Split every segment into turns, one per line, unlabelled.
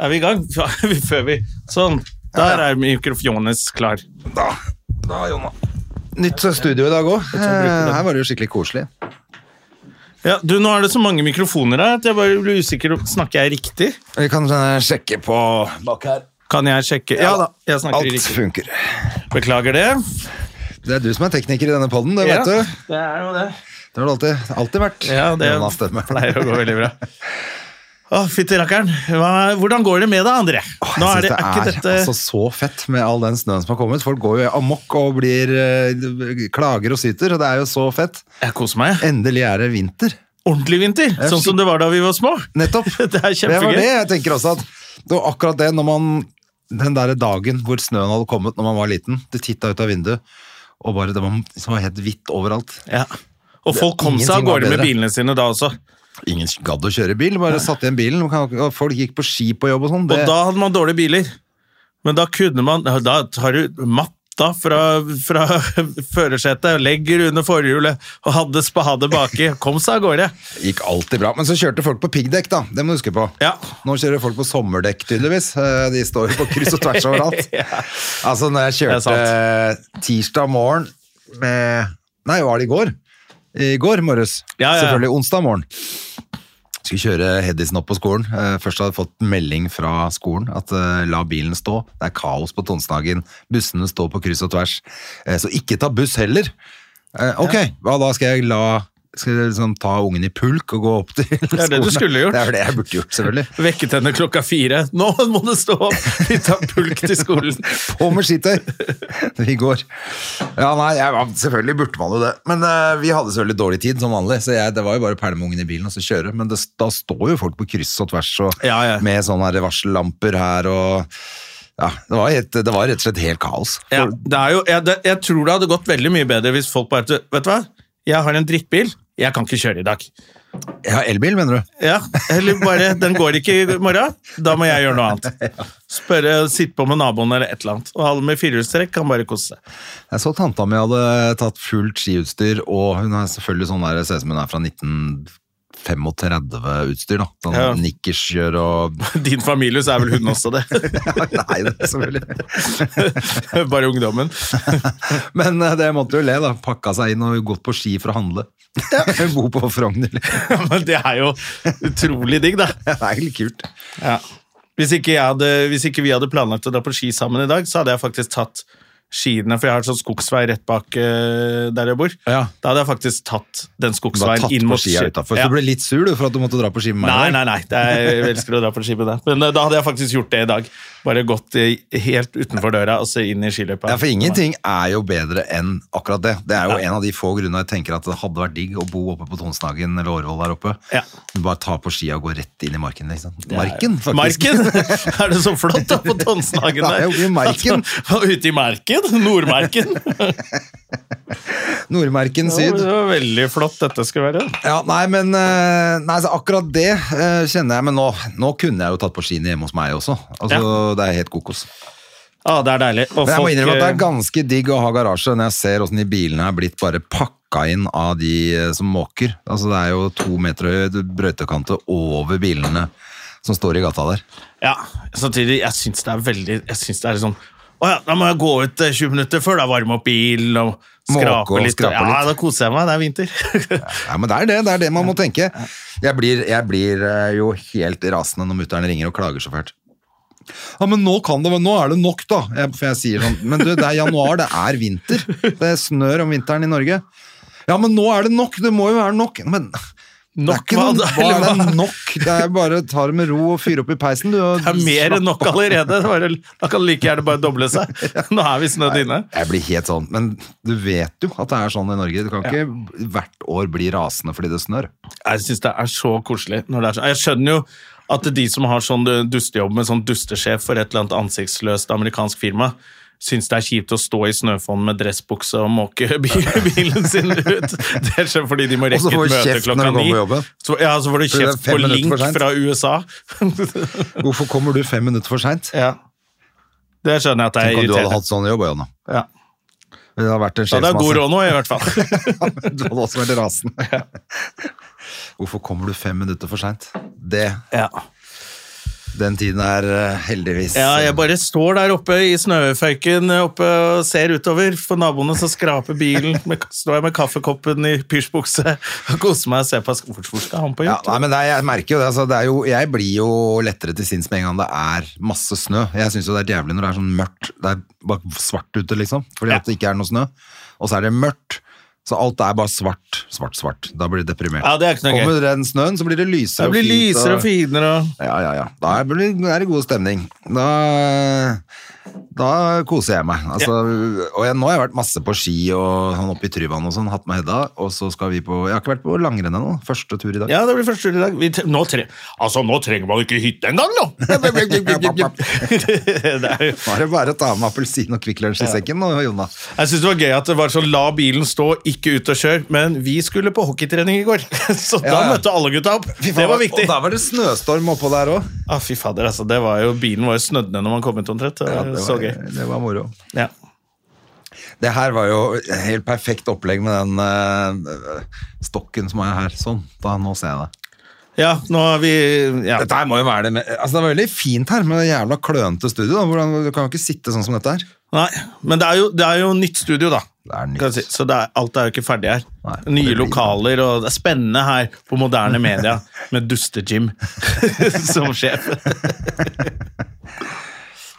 Er vi i gang? Ja, er vi- Før vi Sånn. Der er mikrofonen klar.
Da, da Jonna. Nytt studio i dag òg. Her var det jo skikkelig koselig.
Ja, du, Nå er det så mange mikrofoner her at jeg bare blir usikker. Snakker jeg riktig?
Vi kan eh, sjekke på bak her.
Kan jeg sjekke? Ja da, jeg snakker
Alt
riktig.
funker.
Beklager det.
Det er du som er tekniker i denne poden, det
Ja,
vet du.
det er jo det.
Det har du alltid, alltid vært.
Ja, det
Jonna Stemme.
pleier å gå veldig bra. Å, fytti rakkeren. Hva- Hvordan går det med deg, André?
Åh,
Nå er
jeg
det,
synes
er ikke dette
altså så fett med all den snøen som har kommet. Folk går jo amok og blir eh, klager og syter, og det er jo så fett.
Jeg koser meg.
Endelig er det vinter.
Ordentlig vinter,
er
sånn som det var da vi var små.
Nettopp.
Det er
Det var
kjempegøy.
det jeg tenker også. At det var akkurat det når man Den derre dagen hvor snøen hadde kommet når man var liten. Du titta ut av vinduet, og bare det var, det var helt hvitt overalt.
Ja. Og folk kom seg
Ingenting
av
var
gårde med
bedre.
bilene sine da også.
Ingen gadd å kjøre bil, bare satt igjen bilen. og Folk gikk på ski på jobb og sånn.
Og
Det-
da hadde man dårlige biler. Men da kunne man Da tar du matta fra, fra førersetet, legger under forhjulet og hadde spade baki. Kom seg av gårde.
gikk alltid bra. Men så kjørte folk på piggdekk, da. Det må du huske på.
Ja.
Nå kjører folk på sommerdekk, tydeligvis. Eh, De står jo på kryss og tvers overalt. Altså, når jeg
Det er
kjørte tirsdag morgen med Nei, var det i går? I går morges.
Ja, ja, ja.
Selvfølgelig onsdag morgen. Skulle kjøre Hedisen opp på skolen. Eh, Først hadde jeg fått melding fra skolen at eh, la bilen stå. Det er kaos på Tonsdagen. Bussene står på kryss og tvers. Eh, Så ikke ta buss heller. Eh, Ok, hva da skal jeg la skal jeg liksom ta ungen i pulk og gå opp til skolen?
er det du skulle gjort.
Det er det jeg burde gjort, selvfølgelig.
Vekket henne klokka fire. Nå må du stå opp! Vi tar pulk til skolen.
På med skitøy i går. Ja, nei, jeg, ja, selvfølgelig burde man jo det. Men eh, vi hadde selvfølgelig dårlig tid som vanlig, så jeg, det var jo bare å pælme ungen i bilen og så kjøre. Men det, da står jo folk på kryss og tvers og
Ja, ja.
med sånne her varsellamper her og ja, det var, helt, det var rett og slett helt kaos.
Ja, det er jo, jeg, det, jeg tror det hadde gått veldig mye bedre hvis folk bare Vet du hva? Jeg har en drittbil. Jeg kan ikke kjøre i dag.
Ja, elbil, mener du?
Ja, Eller bare Den går ikke i morgen. Da må jeg gjøre noe annet. Spørre, Sitte på med naboen eller et eller annet. Og alle med firehjulstrekk kan bare kose seg.
Jeg så tanta mi hadde tatt fullt skiutstyr, og hun er selvfølgelig sånn der, ser ut som hun er fra 1935-utstyr, da. Sånn
Ja.
nikkerskjør og
Din familie, så er vel hun også det.
Nei, det er selvfølgelig.
Bare ungdommen.
Men eh, det måtte jo le, da. Pakka seg inn og gått på ski for å handle. Bo på Frogner. Det
Men det er jo utrolig digg, da.
er egentlig kult.
Ja. Hvis, ikke jeg hadde, hvis ikke vi hadde planlagt å dra på ski sammen i dag, så hadde jeg faktisk tatt skiene, for jeg har en sånn skogsvei rett bak eh, der jeg bor.
Ja.
Da hadde jeg faktisk tatt den
Du var
skogsveien
tatt
inn
på
mot
skia
ski-
utafor.
Ja.
Du ble litt sur du, for at du måtte dra på ski med meg.
Nei, nei, nei. Det er, jeg elsker å dra på ski med deg. Men eh, da hadde jeg faktisk gjort det i dag. Bare gått eh, helt utenfor døra og så inn i skiløypa.
Ja, for ingenting er jo bedre enn akkurat det. Det er jo en av de få grunnene jeg tenker at det hadde vært digg å bo oppe på Tonsdagen eller Årvoll der oppe.
Ja.
Bare ta på skia og gå rett inn i marken. Liksom. Marken, faktisk.
Marken! Er det så flott da på Tonsenhagen
Det er
der?
jo i marken.
At- Ute i marken? Nordmarken?
Nordmarken
Det
syd.
var veldig flott dette skulle være.
Ja, nei, men eh, nei, så akkurat det eh, kjenner jeg. Men nå, nå kunne jeg jo tatt på skiene hjemme hos meg også. Altså, Det er helt kokos.
Ah, det er deilig. Og
Men jeg må
folk,
innrømme at det
eh,
er ganske digg å ha garasje når jeg ser hvordan de bilene er blitt bare pakka inn av de eh, som måker. Altså det er jo to meter høy brøytekante over bilene som står i gata der.
eh, Ja, samtidig, jeg syns det er veldig Jeg synes det er sånn Å ja, da må jeg gå ut eh, 20 minutter før, da varme opp bilen og
Måke
skrape
og
litt.
skrape
ja,
litt.
da koser jeg meg. Det er vinter.
Ja, men det er det, det er det man må tenke. Jeg blir, jeg blir eh, jo helt rasende når mutter'n ringer og klager så fælt. Ja, men nå kan det, nå er det nok da. Jeg, for jeg sier sånn, men du, det er januar, det er vinter. Det snør om vinteren i Norge. Ja, men nå er det nok, det må jo være nok. Men det er
Nok
ikke
hva
noe,
da?
hva
Eller
er
hva?
det nok? Det er bare å ta det med ro og fyre opp i peisen, du. Og
Det er mer enn nok allerede. Bare, da kan det like gjerne bare doble seg. Nå er vi snødd inne.
Jeg blir helt sånn, men du vet jo at det er sånn i Norge. Du kan ikke hvert år bli rasende fordi det snør.
Jeg syns det er så koselig. Når det er så. Jeg skjønner jo At de som har sånn eh, dustejobb med sånn dustesjef for et eller annet ansiktsløst amerikansk firma, syns det er kjipt å stå i snøfonn med dressbukse og måke bil, bilen sin ut. Det er sånn fordi de må
Og så
rekke
får du
et møte
kjeft når
klokka
du
ni.
kommer på jobben.
Så, ja, så får du
Fordi det er
kjeft
fem
på
minutter for
link
sent.
fra USA.
Hvorfor kommer du fem minutter for seint?
ja. Det skjønner jeg at det
Tenk om
er
du hadde
irriterende.
hatt sånn jobb, Jonna.
Ja.
Det hadde vært en
Ja, det er god
skilsmasse.
råd nå, i hvert fall.
du hadde også vært rasende. Hvorfor kommer du fem minutter for seint? Det
Ja.
Den tiden er eh, heldigvis
ja, jeg bare står der oppe i snøføyken oppe og ser utover på naboene, så skraper bilen. Med, står jeg med kaffekoppen i pysjbukse og koser meg og ser på hvor, hvor skal han på
ja,
jobb.
nei, men det, er- Jeg merker jo det. Altså, det er jo, jeg blir jo lettere til sinns med en gang det er masse snø. Jeg syns jo det er jævlig når det er sånn mørkt. Det er bare svart ute, liksom. Fordi
Ja.
at det ikke er noe snø. Og så er det mørkt. Så alt er bare svart, svart, svart. Da blir du deprimert.
Ja, det er ikke noe gøy.
Kommer den snøen, så blir det lysere
Det blir lysere og finere og
Ja, ja, ja. Da er det da er det god stemning. Da, da koser jeg meg. Altså, Og jeg, nå har jeg vært masse på ski og sånn oppe i Tryvann og sånn, hatt med Hedda, og så skal vi på Jeg har ikke vært på langrenn ennå. Første tur i dag.
Ja, det blir første tur i dag. Vi, tre- nå tre altså, nå trenger man ikke hytte engang, nå! det er jo
Nå er det bare å ta med appelsin og Kvikk Lunsj i sekken nå, Jonna.
Jeg synes det var gøy at det var sånn la bilen stå, ikke ut og kjør, men vi skulle på hockeytrening i går, så da
Ja, ja.
møtte alle gutta opp. Det var viktig.
Og da var det snøstorm oppå der òg.
Ah, fy fader, altså, det var jo, bilen var jo snødd ned når man kom ut omtrent. Det var så gøy.
det var moro.
Ja.
Det her var jo helt perfekt opplegg med den eh, stokken som er her. Sånn, da nå ser jeg det.
ja, nå har vi ja.
Dette her må jo være det med, altså Det var veldig fint her med det jævla klønete studio. Da. Hvordan, du kan jo ikke sitte sånn som dette her.
Nei, men det er jo, det er jo nytt studio, da.
Det er nytt.
Kan jeg Si. Så det er, alt er jo ikke ferdig her.
Nei, og det
Nye
blir-
lokaler, og det er spennende her på moderne media med Duste-Jim som sjef.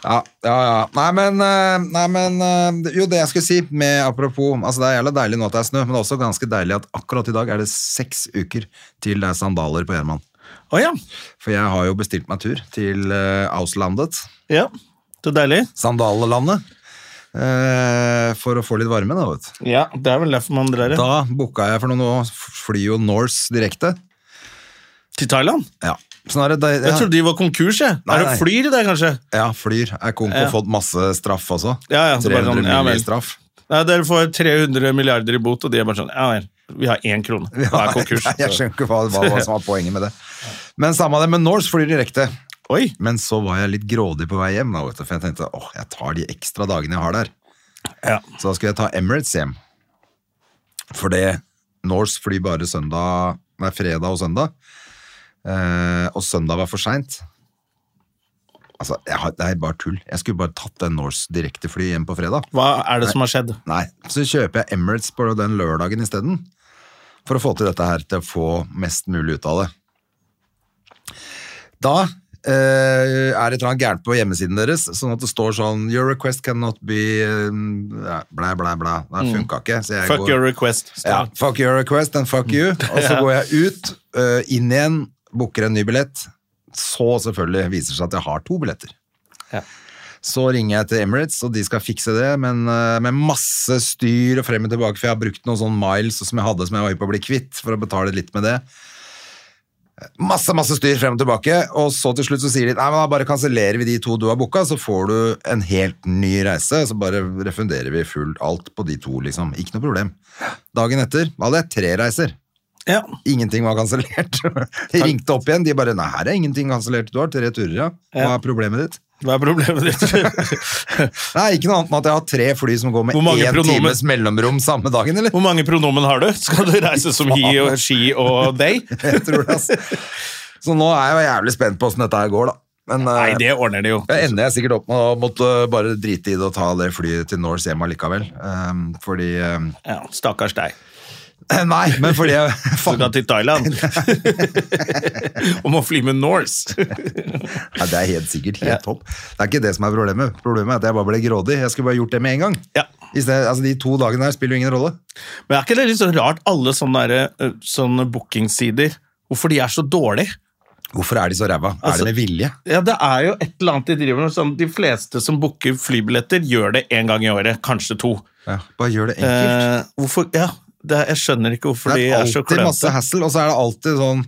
Ja, ja, ja. Nei, men, eh, nei, men eh, Jo, det jeg skulle si, med apropos altså Det er jævla deilig nå at det er snø, men det er også ganske deilig at akkurat i dag er det seks uker til det er sandaler på Gjerman.
Å ja.
For jeg har jo bestilt meg tur til eh, Auslandet,
ja. Så deilig.
sandalelandet, eh, for å få litt varme, da, vet du.
Ja, det er vel derfor man drar det.
Da booka jeg for noe, nå flyr jo Norse direkte.
Til Thailand?
Ja. Sånn er det, det,
Jeg trodde de var konkurs, jeg.
Nei,
er det
nei.
flyr i det, kanskje?
Ja, flyr. Er Konko
Ja.
fått masse straff også?
Ja, ja, så bare
300
sånn, ja,
mil
vel.
i straff.
Nei, dere får 300 milliarder i bot, og de er bare sånn Ja vel, vi har én krone. Det er konkurs.
Nei, jeg skjønner ikke hva, hva, hva som var poenget med det. Men samme det, men Norse flyr direkte.
Oi!
Men så var jeg litt grådig på vei hjem, da, vet du, for jeg tenkte åh, jeg tar de ekstra dagene jeg har der.
Ja.
Så da skulle jeg ta Emirates hjem. For det Norse flyr bare søndag, nei, fredag og søndag. Eh, og søndag var for seint. Altså, jeg, har- det er bare tull. Jeg skulle bare tatt den Norse direktefly hjem på fredag.
Hva er det som har skjedd?
Nei, så kjøper jeg Emirates på den lørdagen isteden. For å få til dette her, til å få mest mulig ut av det. Da eh, er det et eller annet gærent på hjemmesiden deres, sånn at det står sånn Your request cannot be uh, Blæ, blæ, blæ. Det funka ikke. Så jeg
Mm. Fuck
går,
your request. står
ja,
det.
fuck your request and fuck you. Og så går jeg ut, eh, inn igjen, booker en ny billett. Så selvfølgelig viser det seg at jeg har to billetter.
Ja.
Så ringer jeg til Emirates, og de skal fikse det, men eh, med masse styr og frem og tilbake, for jeg har brukt noen sånne miles som jeg hadde som jeg var hypp på å bli kvitt, for å betale litt med det. Masse, masse styr frem og tilbake, og så til slutt så sier de nei, men da bare kansellerer vi de to du har booka, så får du en helt ny reise, så bare refunderer vi fullt alt på de to, liksom. Ikke noe problem. Dagen etter hadde jeg tre reiser.
Ja.
Ingenting var kansellert. De ringte opp igjen, de bare nei, her er ingenting kansellert, du har tre turer, ja. Hva er problemet ditt?
Hva er problemet ditt?
Nei, ikke noe annet enn at jeg har tre fly som går med
Hvor mange
én
pronomen?
times mellomrom samme dagen, eller?
Hvor mange pronomen har du? Skal du reise som he og she og they?
Jeg tror det, altså. Så nå er jeg jævlig spent på åssen dette her går, da. Men eh,
Nei, det ordner de jo.
da ender jeg sikkert opp med å måtte bare drite i det og ta det flyet til Norse hjem allikevel. Eh, fordi eh,
Ja, stakkars deg.
Nei, men fordi jeg
Du skal til Thailand. Og må fly med Norse.
Nei, det er helt sikkert helt topp. Det er ikke det som er problemet. Problemet er at jeg bare ble grådig. Jeg skulle bare gjort det med en gang.
Ja.
I stedet, altså, de to dagene her spiller jo ingen rolle.
Men er ikke det litt sånn rart, alle sånne, der, eh, sånne bookingsider, hvorfor de er så dårlige?
Hvorfor er de så ræva?
Altså-
er det med vilje?
Ja, det er jo et eller annet de driver med. Sånn, de fleste som booker flybilletter, gjør det én gang i året, kanskje to.
Ja, bare gjør det enkelt.
Eh, hvorfor? Ja, det, er- jeg skjønner ikke hvorfor
det
de
er
er så
alltid masse
klønete.
hassle, og så er det alltid sånn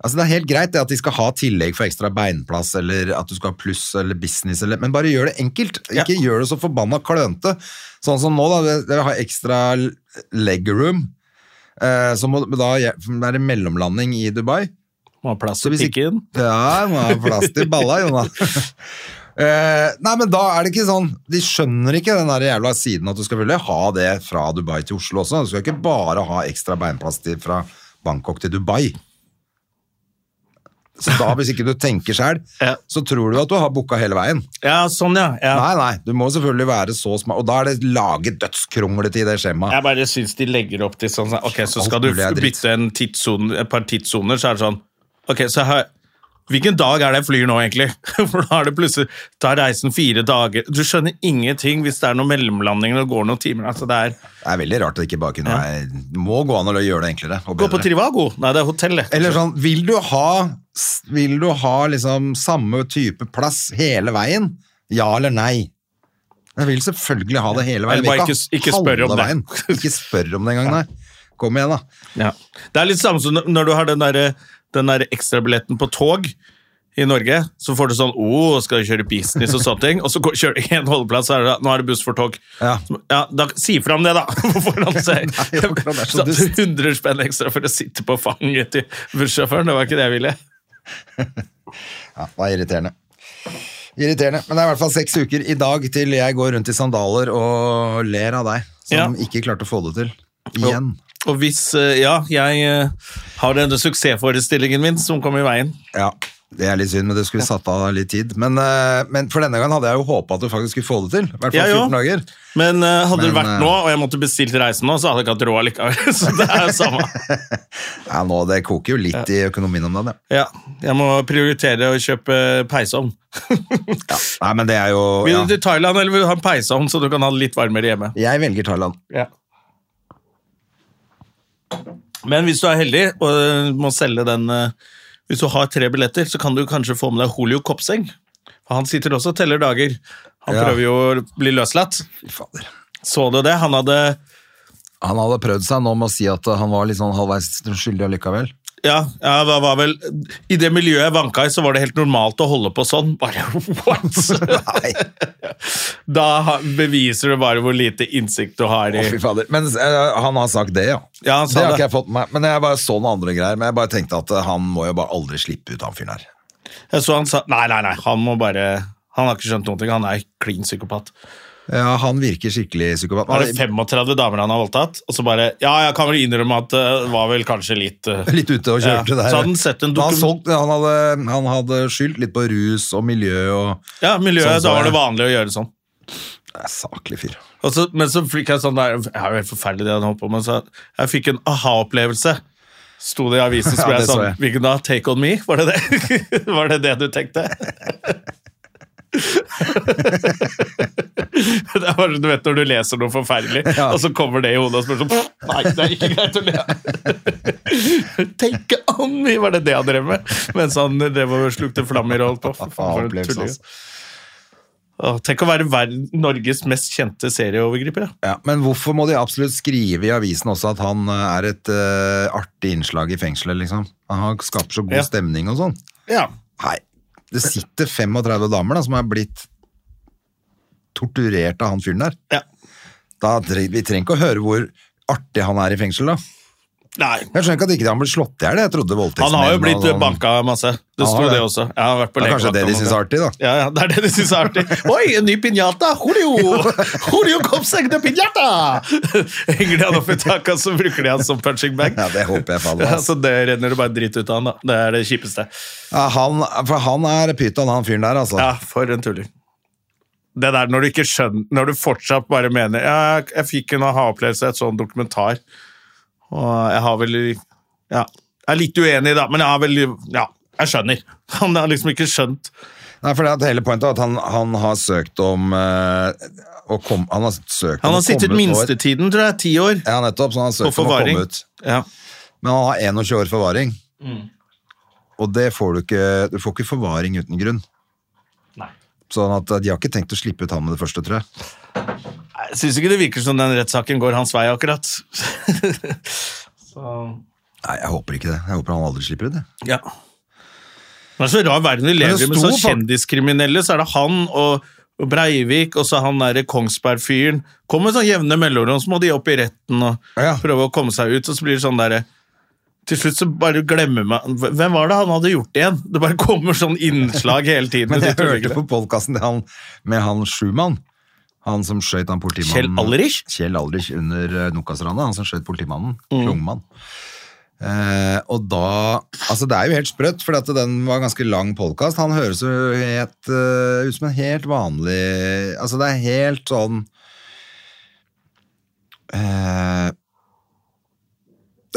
Altså Det er helt greit det at de skal ha tillegg for ekstra beinplass, eller at du skal ha pluss eller business, eller, men bare gjør det enkelt. Ikke gjør det så forbanna klønete. Sånn som nå, da. det- Dere har ekstra l- leg room. Eh, så må, da er det mellomlanding i Dubai.
Må ha
Så
plass til
hvis ikke-
pikken.
Ja, må ha plass til balla, Jonas. Eh, nei, men da er det ikke sånn De skjønner ikke den der jævla siden at du skal følge. Ha det fra Dubai til Oslo også. Du skal ikke bare ha ekstra beinplass til, fra Bangkok til Dubai. Så da, hvis ikke du tenker sjøl,
Ja.
så tror du at du har booka hele veien.
Ja, sånn, ja. ja.
Nei, nei, du må selvfølgelig være så smart. Og da er det laget dødskronglete i det skjemaet.
Jeg bare syns de legger opp til sånn sånn, Ok, så
Alt
skal du
mulig er dritt.
bytte en tidssone, et par tidssoner, så er det sånn Ok, så her, Hvilken dag er det jeg flyr nå, egentlig? For da er det plutselig Da er reisen fire dager Du skjønner ingenting hvis det er noen mellomlandinger og det går noen timer. Altså, det er
Det er veldig rart at det ikke bare kunne være Må gå an å gjøre det enklere. Og
Gå på
bedre.
Trivago! Nei, det er hotell, det.
Eller sånn, vil du ha, vil du ha liksom samme type plass hele veien? Ja eller nei? Jeg vil selvfølgelig ha det hele veien.
Eller bare
vil
ikke- ikke
ha
spør om
halve
det.
veien. Ikke spør om det engang, nei. Kom igjen, da.
Ja. Det er litt samme som når du har den der, den der ekstrabilletten på tog i Norge. Så får du sånn Å, skal du kjøre business og sånne ting? Og så går- kjører du en holdeplass, så er det da, nå er det buss for tog.
Ja.
Så- ja da, si fra om det, da! på forhånd, så-
Nei, akkurat, det er så
Så
dust.
100 spenn ekstra for å sitte på fanget til bussjåføren. Det var ikke det jeg ville.
Ja, det er irriterende. Irriterende. Men det er i hvert fall seks uker i dag til jeg går rundt i sandaler og ler av deg, som
Ja.
ikke klarte å få det til. Igjen.
Og hvis eh, Ja, jeg eh, har denne suksessforestillingen min som kom i veien.
Ja, det er litt synd, men det skulle satt av litt tid. Men, eh, men for denne gangen hadde jeg jo håpet at du faktisk skulle få det til. I hvert
Jeg
fall
jo.
14 dager.
Men eh, hadde det
Men,
vært
eh,
nå, og jeg måtte bestilt reisen nå, så hadde jeg ikke hatt råd likevel. Så det er jo samme.
Ja, nå, det koker jo litt i økonomien om dagen, ja.
Ja, jeg må prioritere å kjøpe peisovn.
Nei, men det er jo
Vil
ja.
du til Thailand, eller vil du ha en peisovn så du kan ha det litt varmere hjemme?
Jeg velger Thailand.
Men hvis du er heldig og øh, må selge den øh, Hvis du har tre billetter, så kan du kanskje få med deg Holio Kopseng. For han sitter også og teller dager. Han
Ja.
prøver jo å bli løslatt.
Fy fader.
Så du det? Han hadde
Han hadde prøvd seg nå med å si at uh, han var litt sånn halvveis skyldig allikevel.
Ja, ja det var vel I det miljøet jeg vanka i, så var det helt normalt å holde på sånn. Bare what?!
Nei,
da ha- beviser du bare hvor lite innsikt du har
å
i
fy fader. Men uh, han har sagt det, ja.
Ja, han sa
det har
det.
ikke jeg fått med meg. Men jeg bare så noen andre greier. Men jeg bare tenkte at uh, han må jo bare aldri slippe ut, han fyren her.
Jeg så han sa Nei, nei, nei, han må bare Han har ikke skjønt noen ting. Han er klin psykopat.
Ja, han virker skikkelig psykopat.
Var det 35 damer han har voldtatt? Og så bare Ja, jeg kan vel innrømme at eh, det var vel kanskje litt eh,
Litt ute og kjørte
Ja,
der.
så hadde han sett en
Men han,
dokument-
solgte- han, hadde, han hadde skyldt litt på rus og miljø og
Ja, miljøet,
Sånn så
da var det
jeg.
vanlig å gjøre sånn.
Det er Saklig fyr.
Og så, men så fikk jeg sånn der Det er jo helt forferdelig, det han holdt på med. Så jeg fikk en aha-opplevelse. Sto det i avisen, så
Ja,
ble jeg
det så
sånn
jeg.
Hvilken da? Take on me? Var det det? var det det du tenkte? det er bare, du vet når du leser noe forferdelig,
Ja.
og så kommer det i hodet og spør sånn «Pff, Nei, det er ikke greit å le. Take on me! Var det det han drev med? Mens han drev og slukte flammer og holdt på. Fy faen, for en
Aha-opplevelse,
tulling.
altså.
Åh, Tenk å være verden, Norges mest kjente serieovergriper. Ja.
Ja, men hvorfor må de absolutt skrive i avisen også at han eh, er et eh, artig innslag i fengselet, liksom? Han har- skaper så god
Ja.
stemning og sånn.
Ja.
Nei, det sitter 35 damer da, som er blitt torturert av han fyren der.
ja.
Da, tre- vi trenger ikke å høre hvor artig han er i fengsel, da.
Nei.
Jeg skjønner ikke at ikke han ble slått i hjel, jeg trodde voldtektsmenn
Han har jo blitt
og sånn.
banka masse. Det
Han
sto
har
det
det.
også. Jeg har vært på
Det er kanskje
legevakt
det
og
de syns er
sånt.
artig, da.
Ja, ja, det er det de syns er artig. Oi, en ny pinjata! Julio! Julio Kopseng de pinjata! Henger de han opp i taket, så bruker de han som punching bag.
Ja, det håper jeg faller.
Ja,
Altså.
så det renner det bare dritt ut av han, da. Det er det kjipeste.
Ja, han, for han er pyton, han fyren der, altså.
Ja, for en tulling. Det der når du ikke skjønner Når du fortsatt bare mener Ja, jeg fikk en aha-opplevelse av et sånn dokumentar, og jeg har vel Ja. Jeg er litt uenig, da, men jeg har vel Ja, jeg skjønner. Han har liksom ikke skjønt
Nei, for det at hele pointet er at han, han har søkt om eh, å kom, Han har søkt
Han
om
har
å
sittet
komme ut nå.
minstetiden, tror jeg, ti år.
Ja, nettopp. Så han har
På
søkt om å
forvaring.
komme ut.
Ja.
Men han har 21 år forvaring. Og det får du ikke Du får ikke forvaring uten grunn. Sånn at eh, de har ikke tenkt å slippe ut han med det første, tror jeg.
Jeg syns ikke det virker som den rettssaken går hans vei, akkurat. Så
Nei, jeg håper ikke det. Jeg håper han aldri slipper ut. jeg.
Ja. Det er så rar verden vi lever i med
sto
sånn
fak-
kjendiskriminelle. Så er det han og og Breivik og så han derre Kongsberg-fyren. Kommer sånn jevne mellomrom, så må de opp i retten og
Ja.
prøve å komme seg ut. Og så blir det sånn derre Til slutt så bare glemmer man Hvem var det han hadde gjort igjen? Det bare kommer sånn innslag hele tiden.
Men jeg
Du tror ikke
hørte
det?
på podkasten med han Schumann. Han som skjøt han politimannen
Kjell Alrich?
Kjell Alrich under eh, Nokastranda. Han som skjøt politimannen. Klungmann. Eh, og da Altså, det er jo helt sprøtt, for at den var ganske lang podkast. Han høres jo helt eh, ut som en helt vanlig Altså, det er helt sånn eh,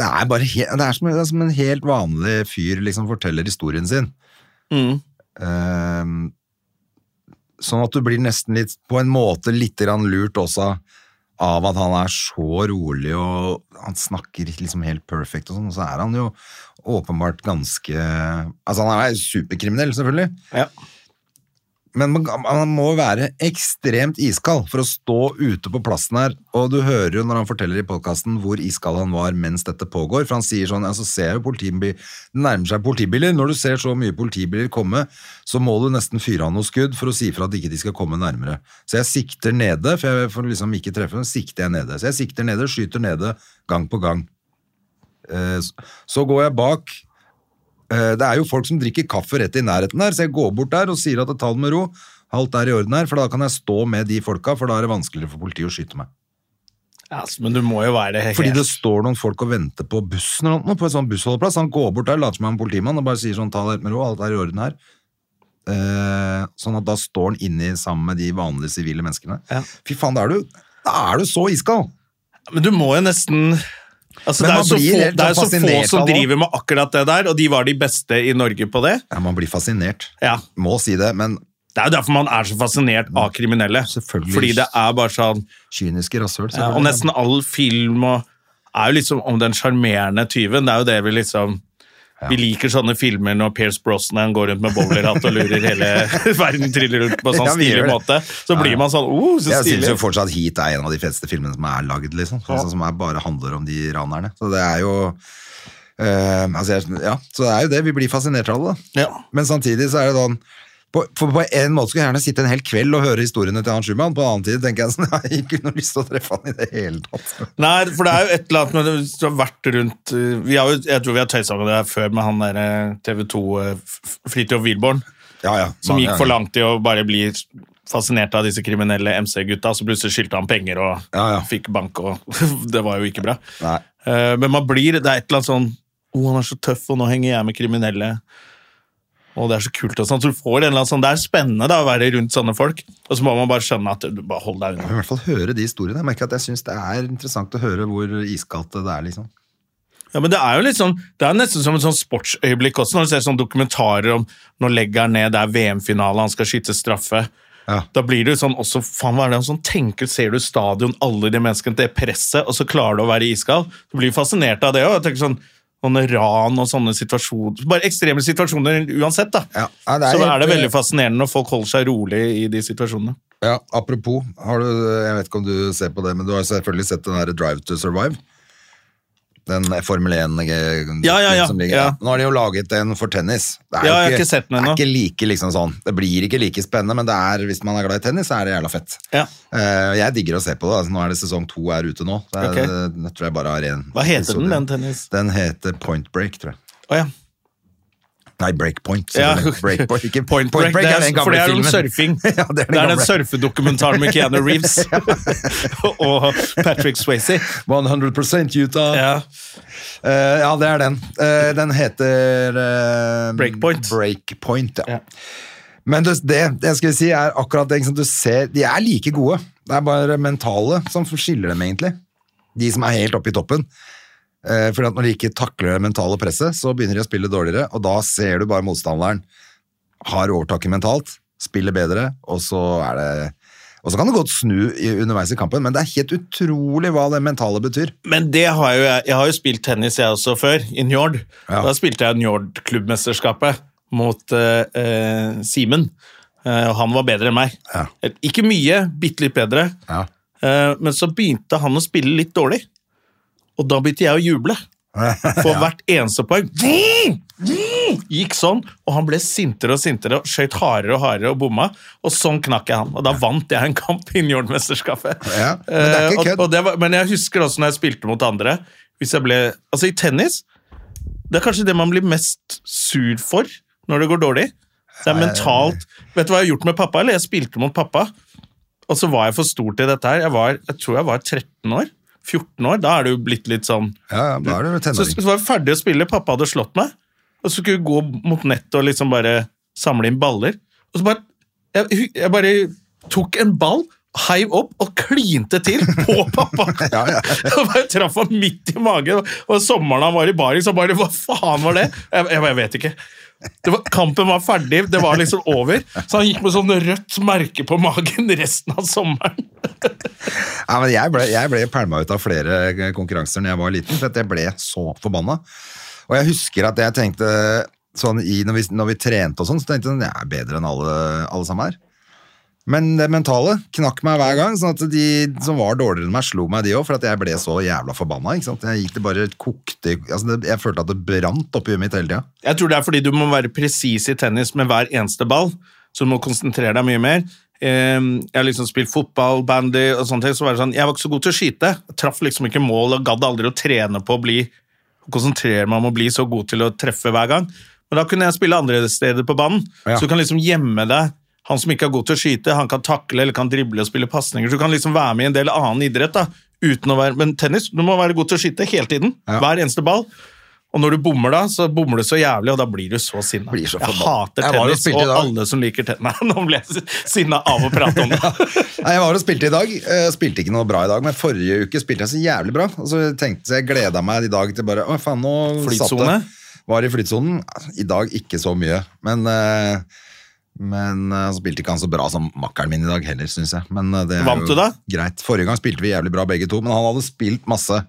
det er, bare he det, er som, det er som en helt vanlig fyr liksom forteller historien sin.
Mm.
Ehm, Sånn at du blir nesten litt, på en måte litt grann lurt også av at han er så rolig og han snakker liksom helt perfekt og sånn, og så er han jo åpenbart ganske Altså, han er superkriminell, selvfølgelig,
Ja.
men man, han må være ekstremt iskald for å stå ute på plassen her. Og du hører jo når han forteller i podkasten hvor iskald han var mens dette pågår. For han sier sånn, altså ser jo politibil, det nærmer seg politibiler. Når du ser så mye politibiler komme, så må du nesten fyre av noe skudd for å si fra at ikke de skal komme nærmere. Så jeg sikter nede, for jeg får liksom ikke treffe dem, sikter jeg nede. Så jeg sikter nede, skyter nede, gang på gang. Eh, s- Så går jeg bak, Eh, Det er jo folk som drikker kaffe rett i nærheten der, så jeg går bort der og sier at ta det med ro. Alt er i orden her, for da kan jeg stå med de folka, for da er det vanskeligere for politiet å skyte meg.
Ja, altså, men du må jo være det.
Fordi det står noen folk og venter på bussen eller noe, på en sånn bussholdeplass. Han går bort der, later som han er en politimann og bare sier sånn, ta det helt med ro, alt er i orden her. Eh, sånn at da står han inni sammen med de vanlige sivile menneskene.
Ja.
Fy faen, da er du, da er du så iskald!
Men du må jo nesten Altså,
Men
det er
man
jo så,
blir
få,
helt
det er jo så få
fascinert
som
av det.
driver med akkurat det der, og de var de beste i Norge på det.
Ja, man blir fascinert.
Ja,
Må si det, men
Det er jo derfor man er så fascinert av kriminelle.
Selvfølgelig.
Fordi det er bare sånn
kyniske rasshøl.
ja, Og nesten all film og, er jo liksom om den sjarmerende tyven. Det er jo det vi liksom Vi liker sånne filmer når Pierce Brosnan går rundt med bowlerhatt og lurer hele verden triller rundt på en sånn
Ja, vi gjør
stilig
det.
måte. Så blir man sånn oh, så
Jeg synes
stilig.
jo fortsatt Heat er en av de feteste filmene som er laget, liksom. Altså, som er, bare handler om de ranerne. Så det er jo eh, altså, jeg- Ja, så det er jo det. Vi blir fascinert av det, da.
Ja.
Men samtidig så er det sånn på, for på en måte skulle jeg gjerne sitte en hel kveld og høre historiene til han Schumann. På en annen tid tenker jeg sånn Jeg har ikke noe lyst til å treffe han i det hele tatt.
Nei, for det er jo et eller annet med det- Hvis du har vært rundt eh, vi har jo, Jeg tror vi har tøysa med det her før med han derre TV eh, 2 Fridtjof Wilborn.
Ja, ja.
Som
mange
gikk for
ganger.
langt i å bare bli fascinert av disse kriminelle MC-gutta, så plutselig skyldte han penger og
Ja, ja.
fikk bank, og det var jo ikke bra.
Nei.
Eh, Men man blir, det er et eller annet sånn Å, han er så tøff, og nå henger jeg med kriminelle. Og det er så kult og sånn. Så du får en eller annen sånn, Det er spennende da, å være rundt sånne folk, og så må man bare skjønne at du bare hold deg
Jeg
unna.
vil i hvert fall høre de historiene. Jeg merker at jeg syns det er interessant å høre hvor iskaldt det er, liksom.
Ja, men Det er jo litt sånn, det er nesten som et sånn sportsøyeblikk også, når du ser sånne dokumentarer om nå legger han ned, det er VM-finale, han skal skyte straffe.
Ja.
Da blir det jo sånn også, faen hva er det han sånn tenker, ser du stadion, alle de menneskene, det presset, og så klarer du å være iskald. Du blir fascinert av det òg. Jeg tenker sånn sånne ran og sånne situasjoner Bare ekstreme situasjoner uansett, da.
Ja, ja, det er
så
helt- eh,
er det veldig fascinerende når folk holder seg rolig i de situasjonene.
Ja, apropos, har du, jeg vet ikke om du ser på det, men du har selvfølgelig sett den der Drive to Survive. Den Formel 1-dokumentet
Ja, ja, ja,
som ligger
ja.
Nå har de jo laget en for tennis. Det er
Ja,
jo
jeg har ikke sett den ennå.
Det er ikke like liksom sånn. Det blir ikke like spennende, men det er, hvis man er glad i tennis, så er det jævla fett.
Ja.
Eh, jeg digger å se på det. Altså, nå er det sesong to er ute nå. Det er,
Ok.
det- jeg tror jeg bare har en
Hva heter den,
episode.
den tennis?
Den heter Point Break, tror jeg.
Å ja.
Nei, Breakpoint.
Ja.
selvfølgelig. Breakpoint, ikke
Point Break, det er, for det er om surfing.
ja, det er den,
det er den
gamle.
surfedokumentaren med Keanu Reeves og Patrick Swayze.
100% Utah.
Ja.
Eh, ja, det er den. Eh, den heter eh,
Breakpoint.
Breakpoint, ja.
Ja.
Men det, det jeg skulle si er akkurat det ikke sant, du ser, De er like gode. Det er bare mentale som skiller dem, egentlig. De som er helt oppe i toppen. Eh, fordi at Når de ikke takler det mentale presset, så begynner de å spille dårligere, og da ser du bare motstanderen har overtaket mentalt, spiller bedre, og så er det og så kan det godt snu i- underveis i kampen, men det er helt utrolig hva det mentale betyr.
Men det har jo jeg, jeg har jo spilt tennis jeg også før, i Njord.
Ja.
Da spilte jeg Njord-klubbmesterskapet mot eh, eh, Simen. Eh, og han var bedre enn meg.
Ja.
Eh, Ikke mye, bitte litt bedre.
Ja.
Eh, men så begynte han å spille litt dårlig. Og da begynte jeg å juble. For hvert eneste poeng Ving! Ving! gikk sånn, og han ble sintere og sintere og skjøt hardere og hardere og bomma. Og sånn knakk jeg han. Og da vant jeg en kamp i juniormesterskapet.
Ja, men det er ikke
Eh, og-
kødd.
og det var- Men jeg husker også når jeg spilte mot andre hvis jeg ble, Altså, i tennis Det er kanskje det man blir mest sur for når det går dårlig. Det er mentalt Vet du hva jeg har gjort med pappa? Eller jeg spilte mot pappa, og så var jeg for stor til dette her. Jeg, var, jeg tror jeg var 13 år. 14 år. Da er du blitt litt sånn
Ja, ja, da er du
så,
tenåring.
så var vi ferdig å spille, pappa hadde slått meg, og så skulle vi gå mot nettet og liksom bare samle inn baller. Og så bare Jeg, jeg bare tok en ball, heiv opp og klinte til på pappa!
Ja, ja.
Og bare traff han midt i magen. Og sommeren han var i baring, så bare Hva faen var det? Jeg, jeg, bare, jeg vet ikke. Det var, kampen var ferdig, det var liksom over. Så han gikk med sånn rødt merke på magen resten av sommeren.
Nei, men jeg ble, jeg ble pælma ut av flere eh, konkurranser når jeg var liten, for at jeg ble så forbanna. Og jeg husker at jeg tenkte sånn i, når, vi, når vi trente og sånn, så tenkte jeg sånn, jeg er bedre enn alle, alle sammen her. Men det mentale knakk meg hver gang, sånn at de som var dårligere enn meg, slo meg de òg, for at jeg ble så jævla forbanna. ikke sant? Jeg gikk det bare kokte altså det, Jeg følte at det brant oppi huet mitt hele tida.
Jeg tror det er fordi du må være presis i tennis med hver eneste ball, så du må konsentrere deg mye mer. Eh, Jeg har liksom spilt fotball, bandy og sånne ting, så var det sånn, jeg var ikke så god til å skyte. Jeg traff liksom ikke mål og gadd aldri å trene på å bli, å konsentrere meg om å bli så god til å treffe hver gang. Men da kunne jeg spille andre steder på banen,
Ja.
så du kan liksom gjemme deg. Han som ikke er god til å skyte, han kan takle eller kan drible og spille pasninger, så du kan liksom være med i en del annen idrett da, uten å være, men tennis, du må være god til å skyte hele tiden,
Ja.
hver eneste ball. Og når du bommer da, så bommer du så jævlig, og da blir du så sinna.
Blir så
jeg
forbanna.
hater
Jeg var og
tennis,
spilte i
og
dag.
alle som liker tennis. Nei, nå ble jeg sinna av å prate om det.
Nei, Jeg var og spilte i dag. Eh, Spilte ikke noe bra i dag, men forrige uke spilte jeg så jævlig bra. Og så tenkte jeg, jeg gleda meg i dag til bare Å, faen, nå satt det.
Flytsone?
Var i flytsonen. I dag ikke så mye. Men, eh, men eh, så spilte ikke han så bra som makkeren min i dag heller, syns jeg. Men eh, det er
Vant
jo
du da?
greit. Forrige gang spilte vi jævlig bra begge to, men han hadde spilt masse.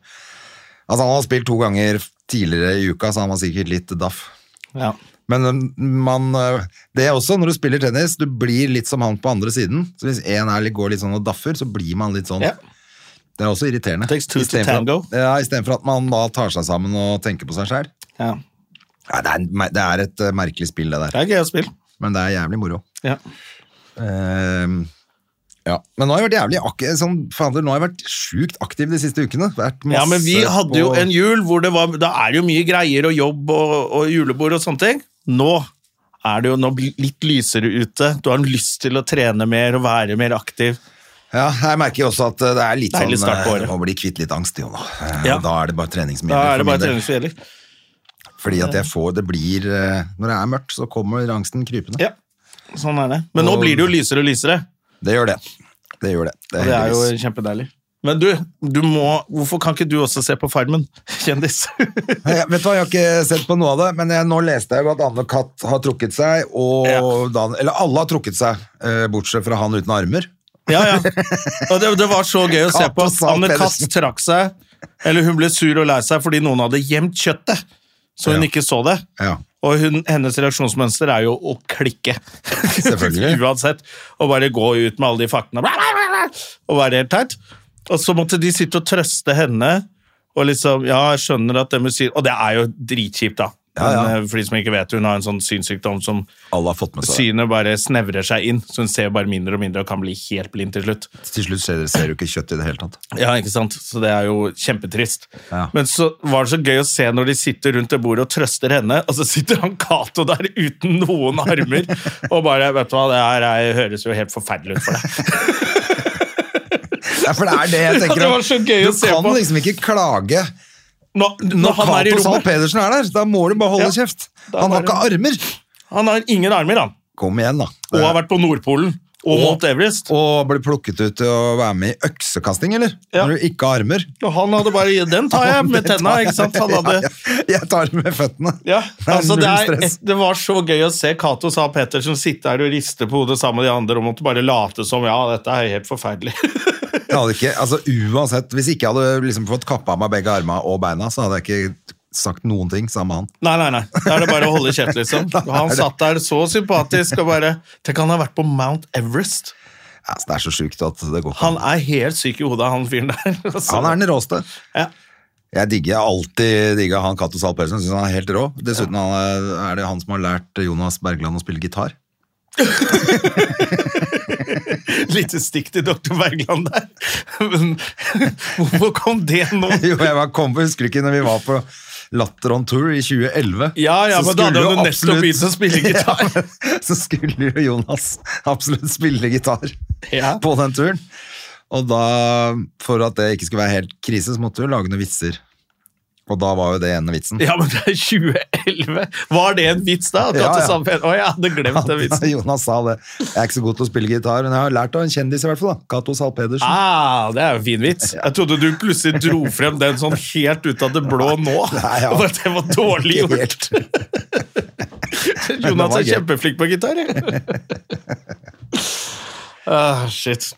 Altså, han hadde spilt to ganger tidligere i uka, så han var sikkert litt daff.
Ja.
Men øhm, man øh, Det er også, når du spiller tennis, du blir litt som han på andre siden. Så hvis en er litt, går litt sånn og daffer, så blir man litt sånn.
Ja.
Det er også irriterende.
Takes two to
Istedenfor at-
tango.
Ja, Istedenfor at man da tar seg sammen og tenker på seg sjæl.
ja.
Ja, det, er en mer- det er et øh, merkelig spill, det der.
Det er gøy å spille.
Men det er jævlig moro.
Ja.
Ehm, ja. Men nå har jeg vært jævlig aktiv, sånn, fader, nå har jeg vært sjukt aktiv de siste ukene. Vært masse
ja, men vi hadde jo
på-
en jul hvor det var Da er det jo mye greier og jobb og, og julebord og sånne ting. Nå er det jo nå blir det litt lysere ute. Du har lyst til å trene mer og være mer aktiv.
Ja, jeg merker jo også at øh, det er litt
Deilig
sånn
start på
øh,
året.
Må bli kvitt litt angst, jo nå. Eh,
Ja.
Da er det bare trening som
Da
gjelder for
er det
min
bare
del.
trening som gjelder.
Fordi at jeg får, det blir eh, Når det er mørkt, så kommer angsten krypende.
Ja. Sånn er det. Men nå blir det jo lysere og lysere.
Det gjør det. Det gjør det. Det er,
Og det er jo
heldigvis.
kjempedeilig. Men du, du må, hvorfor kan ikke du også se på Farmen, kjendis?
Jeg, vet du hva, jeg har ikke sett på noe av det, men jeg, nå leste jeg jo at Anne Katt har trukket seg, og
Ja.
Dan, eller alle har trukket seg, eh, bortsett fra han uten armer.
Ja, ja. Og det, det var så gøy å se på.
Katt og Sal
Anne Katt
Pedersen.
trakk seg, eller hun ble sur og lei seg fordi noen hadde gjemt kjøttet, så hun
Ja.
ikke så det.
Ja.
Og hun, hennes reaksjonsmønster er jo å klikke.
Selvfølgelig.
Uansett. Og bare gå ut med alle de faktene og være helt teit. Og så måtte de sitte og trøste henne. Og liksom, ja, jeg skjønner at det musikk... Og det er jo dritkjipt, da.
Ja, ja.
Men, eh, For de som ikke vet, hun har en sånn synssykdom som
Alle har fått med seg det.
synet bare snevrer seg inn. Så hun ser bare mindre og mindre og kan bli helt blind til slutt.
Til slutt ser, ser du ikke kjøtt i det hele tatt.
Ja, ikke sant? Så det er jo kjempetrist.
Ja.
Men så var det så gøy å se når de sitter rundt det bordet og trøster henne, og så sitter han Cato der uten noen armer og bare Vet du hva, det her er, høres jo helt forferdelig ut for deg.
Ja, for det er det jeg tenker.
det
om.
var så gøy
du
å se
kan
på.
liksom ikke klage
Når, når,
når
han er i
Cato Zahl
rommet
Pedersen er der. Da må du bare holde
Ja.
kjeft.
Da
Han har
bare-
ikke armer.
Han har ingen armer, han.
Kom igjen, da.
Og har vært på Nordpolen. Og
Og-
Mount Everest.
Og bli plukket ut til å være med i øksekasting, eller?
Ja.
Når du ikke har armer.
Og han hadde bare Den tar jeg med tenna, ikke sant? Han hadde
Ja, ja. Jeg tar det med føttene.
Ja,
Det er
altså det,
null
er,
stress.
det var så gøy å se Cato sa Pettersen sitte her og riste på hodet sammen med de andre og måtte bare late som ja, dette er helt forferdelig.
Jeg hadde ikke, altså uansett, Hvis ikke jeg hadde liksom fått kappa av meg begge armene og beina, så hadde jeg ikke sagt noen ting sammen med han.
Nei, nei, nei. Da er det bare å holde kjeft, liksom. Han satt der så sympatisk og bare Tenk, han har vært på Mount Everest.
Altså, det er så sjukt at det går ikke
Han
an.
er helt syk i hodet, han fyren der. Altså,
han er den råeste.
Ja.
Jeg digger jeg har alltid digga han Cato Zahl Pedersen. Syns han er helt rå. Dessuten han er, er det han som har lært Jonas Bergland å spille gitar.
Lite stikk til Dr. Bergland der. Men hvorfor kom det nå?
Jo, jeg var kom, Husker du ikke når vi var på Latter on Tour i 2011?
Ja, ja,
Så
men
skulle
da hadde han jo nettopp
absolutt-
begynt å spille gitar.
så skulle jo Jonas absolutt spille gitar
Ja.
på den turen. Og da, for at det ikke skulle være helt krise, så måtte vi jo lage noen vitser. Og da var jo det ene vitsen.
Ja, men det er 2011. Var det en vits da? At
Ja,
ja,
ja.
ja. Å, jeg hadde glemt den vitsen.
Jonas sa det. Jeg er ikke så god til å spille gitar, men jeg har lært av en kjendis i hvert fall. da. Cato Zahl Pedersen.
Ah, det er jo en fin vits. Jeg trodde du plutselig dro frem den sånn helt ut av det blå nå.
Nei, ja.
Og at det var dårlig
Ikke
gjort.
helt.
Jonas
var
er
gøy.
kjempeflink på gitar. jeg. ah, shit.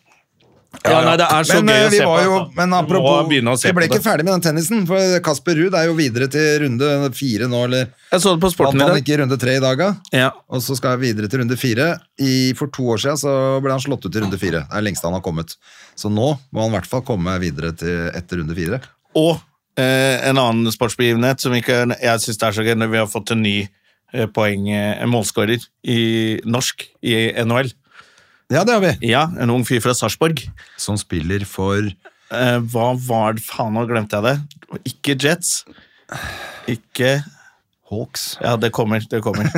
Ja, nei, det er så
Men,
gøy
eh,
å
vi
se
var
på.
jo,
altså.
men
Må
apropos,
begynne å se
jeg ble
på det.
ikke ferdig med den tennisen, for Kasper Ruud er jo videre til runde fire nå, eller
Jeg så det på
vant
sporten i
han
dag.
ikke runde tre i dag, da?
Ja.
Og så skal jeg videre til runde fire. I, for to år siden så ble han slått ut i runde fire. Det er lengst han har kommet. Så nå må han i hvert fall komme videre til etter runde fire.
Og eh, en annen sportsbegivenhet som ikke er, jeg syns det er så gøy, når vi har fått en ny eh, poeng, eh, en målskårer i norsk i NHL.
Ja, det har vi.
Ja, en ung fyr fra Sarpsborg.
Som spiller for
Eh, hva var det Faen, nå glemte jeg det. Det var Ikke Jets. Ikke
Hawks.
Ja, det kommer. det kommer.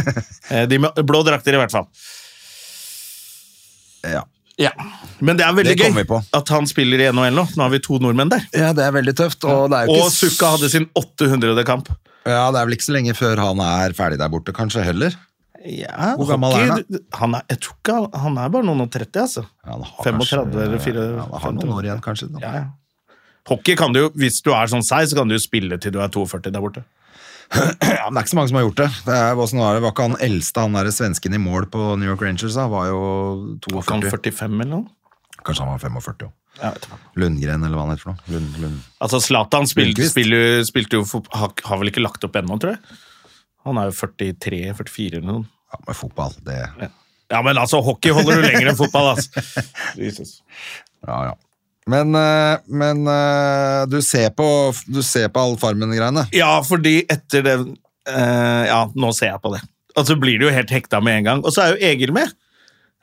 Eh, De med blå drakter, i hvert fall.
Ja.
Ja. Men det er veldig
Det kom
gøy
vi på.
at han spiller i NHL nå. Nå har vi to nordmenn der.
ja, det er veldig tøft. Og det er jo
Og
ikke s-
Sukka hadde sin 800. kamp.
Ja, det er vel ikke så lenge før han er ferdig der borte, kanskje heller.
Ja,
Hvor gammel er han
han? er, jeg tror ikke han, han er bare noen og 30, altså.
Ja, han har
35
kanskje-
eller 4
ja, Han har noen år igjen, kanskje. Da.
Ja, ja. Hockey kan du jo, hvis du er sånn seig, så kan du jo spille til du er 42 der borte.
Ja, men det er ikke så mange som har gjort det. Det er, hvordan var, det? var ikke han eldste, han derre svensken i mål på New York Rangers, da? Var jo
Kan
42.
45 eller noe?
Kanskje han var 45, jo.
Jeg vet ikke.
Lundgren, eller hva han heter for noe. Lund, Lund.
Altså, Zlatan spil,
Lundqvist.
spiller, spilte jo fot- har, har vel ikke lagt opp ennå, tror jeg. Han er jo 43-44 eller noe.
Ja, med fotball, det
Ja, men altså, hockey holder du lenger enn fotball, altså. Jesus.
Ja, ja. Men, eh, men eh, du, ser på, du ser på all Farmen-greiene.
Ja, fordi etter det eh, Ja, nå ser jeg på det. Og så blir du jo helt hekta med en gang. Og så er jo Egil med.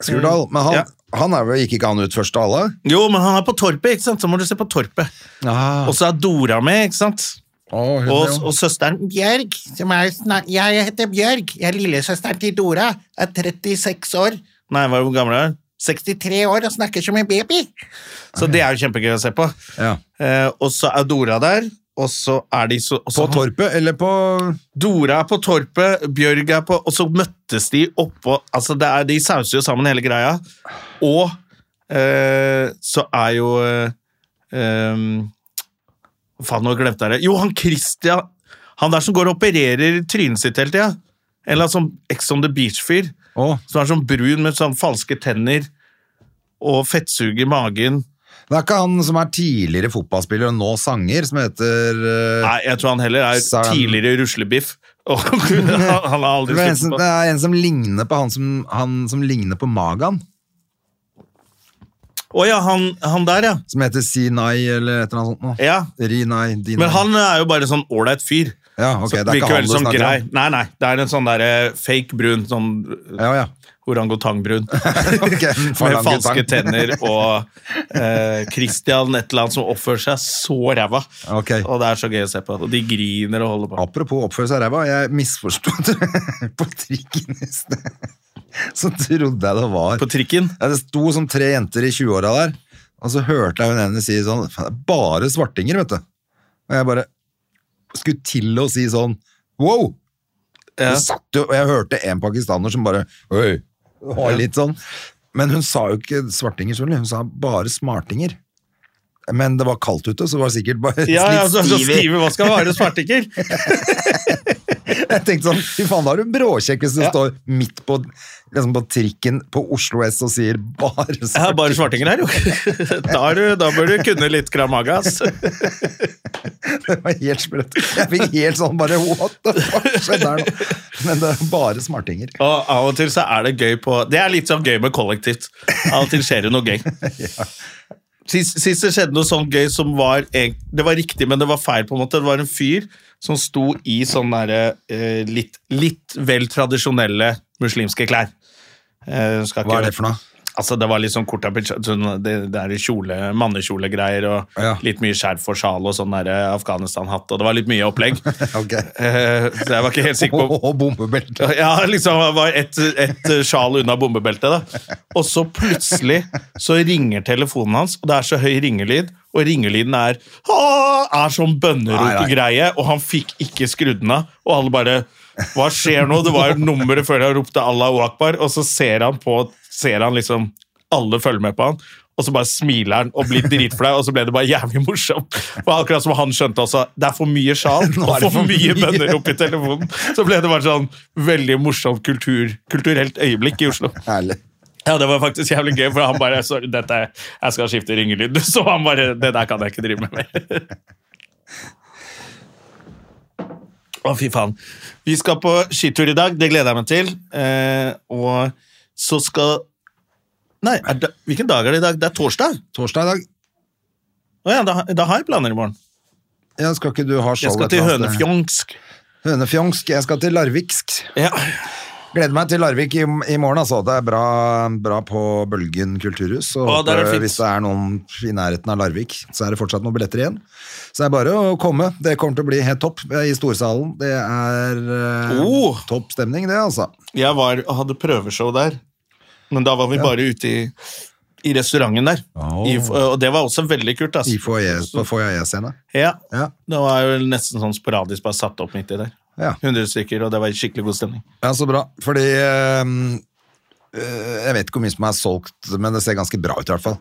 Skurdal. Men han,
Mm. Ja.
han er vel, gikk ikke han ut først av alle?
Jo, men han er på Torpet, ikke sant? Så må du se på Torpet. Og så er Dora med, ikke sant?
Å, hun,
Ah. Og,
ja.
og søsteren Bjørg, som er snak... Jeg heter Bjørg. Jeg er lillesøsteren til Dora. Er 36 år. Nei, hva er hvor gammel er hun? 63 år og snakker som en baby. Så det er jo kjempegøy å se på.
Ja.
Eh, og så er Dora der, og så er de så og
På
så-
Torpet, eller på
Dora er på Torpet, Bjørg er på Og så møttes de oppå Altså, det er, de sauser jo sammen hele greia. Og eh, så er jo eh, em, Faen, nå glemte jeg det. Jo, han Christian Han der som går og opererer trynet sitt hele tida. En eller annen sånn Ex on the Beach-fyr.
Å,
Som er sånn brun med sånn falske tenner og fettsug i magen.
det er ikke han som er tidligere fotballspiller og nå sanger, som heter eh,
Nei, jeg tror han heller er
Sam-
tidligere ruslebiff. Og han har aldri
det, er en som,
sluttet på
det er en som ligner på han som, han som ligner på Magan,
Å ja, han, han der, ja.
som heter Sinai eller et eller annet sånt. nå.
ja.
Rinai, Dinai.
Men han er jo bare sånn ålreit fyr.
ja, ok,
Så
det er ikke
virker
han
veldig
du
sånn
snakker
grei.
om.
Nei, nei, det er en sånn der eh, fake brun, sånn
Ja, ja.
orangutangbrun.
Ok,
Med
forlangetang.
falske tenner og eh, Christian et eller annet som oppfører seg så ræva.
Ok.
Og det er så gøy å se på. Og de griner og holder på.
Apropos oppføre seg ræva, jeg misforsto det på trikken i sted. Så trodde jeg det var
På trikken.
ja, Det sto som tre jenter i 20-åra der, og så hørte jeg hun ene si sånn "Faen, det er Bare svartinger, vet du. Og jeg bare skulle til å si sånn wow!
Ja.
Det satt jo, og jeg hørte en pakistaner som bare Oi! Var litt sånn. Men hun sa jo ikke svartinger, selvfølgelig. Hun sa bare smartinger. Men det var kaldt ute, så det var sikkert bare
Ja, ja,
litt
så, så
stiv i-
skriver hva skal være svartinger?
Jeg tenkte sånn, fy faen, da er du bråkjekk hvis du står midt på, liksom på trikken på Oslo S og sier bare
Jeg har bare svartinger her, jo. Da, er du, da bør du kunne litt Kramaga, ass.
Det var helt sprøtt. Jeg fikk helt sånn bare, what the fuck skjedde her nå? Men det er bare smartinger.
Og av og til så er det gøy på Det er litt sånn gøy med kollektivt. Av og til skjer det noe gøy. Sist, sist det skjedde noe sånn gøy som var egent- Det var riktig, men det var feil. på en måte Det var en fyr som sto i sånne derre, eh, litt, litt vel tradisjonelle muslimske klær. Eh, skal ikke-
Hva er det for noe?
Altså, det var litt sånn korta pitsj- sånn, det, det er i kjole, mannekjolegreier og
Ja.
litt mye skjerf og sjal og sånn der, eh, Afghanistan-hatt, og det var litt mye opplegg.
Ok.
Eh, så jeg var ikke helt sikker på
Og bombebelte.
ja, liksom han var et, et sjal unna bombebeltet, da. Og så plutselig så ringer telefonen hans, og det er så høy ringelyd, og ringelyden er «Åh!» er sånn bønnerop-greie, og han fikk ikke skrudd den av, og alle bare Hva skjer nå? Det var jo nummeret før han ropte Allahu akbar, og så ser han på Ser han liksom Alle følger med på han. Og så bare smiler han og blir dritflau, og så ble det bare jævlig morsomt. Og akkurat som han skjønte også, det er for mye sjal og
er det
for
for
mye
mye.
bønner opp i telefonen. Så ble det bare sånn veldig morsomt kultur, kulturelt øyeblikk i Oslo.
Herlig.
Ja, det var faktisk jævlig gøy, for han bare Sorry, dette, er- jeg skal skifte ringelyd. Så han bare Det der kan jeg ikke drive med mer. Å, fy faen. Vi skal på skitur i dag. Det gleder jeg meg til. Eh, og så skal Nei, er det, hvilken dag er det i dag? Det er torsdag.
Torsdag i dag.
Å ja, da, da har jeg planer i morgen.
Ja, skal ikke du ha show
Jeg skal
et
til
eller annet sted?
Hønefjongsk.
Hønefjongsk. Jeg skal til Larviksk.
Ja.
Gleder meg til Larvik i, i morgen, altså. Det er bra, bra på Bølgen kulturhus. Og
Å, der er det
håper
fint.
hvis det er noen i nærheten av Larvik, så er det fortsatt noen billetter igjen. Så det er bare å komme. Det kommer til å bli helt topp eh, i storsalen. Det er eh,
Oh.
topp stemning, det, altså.
Jeg var, hadde prøveshow der, men da var vi bare ute i, i restauranten der.
Åh.
I, og det var også veldig kult.
I
Altså.
foyer- på foyer-scene.
Ja,
Ja.
det var jo nesten sånn sporadisk bare satt opp midt i der.
Ja.
100 stykker, og det var skikkelig god stemning.
ja, så bra. Fordi eh, eh, Jeg vet ikke hvor mye som er solgt, men det ser ganske bra ut, i hvert fall.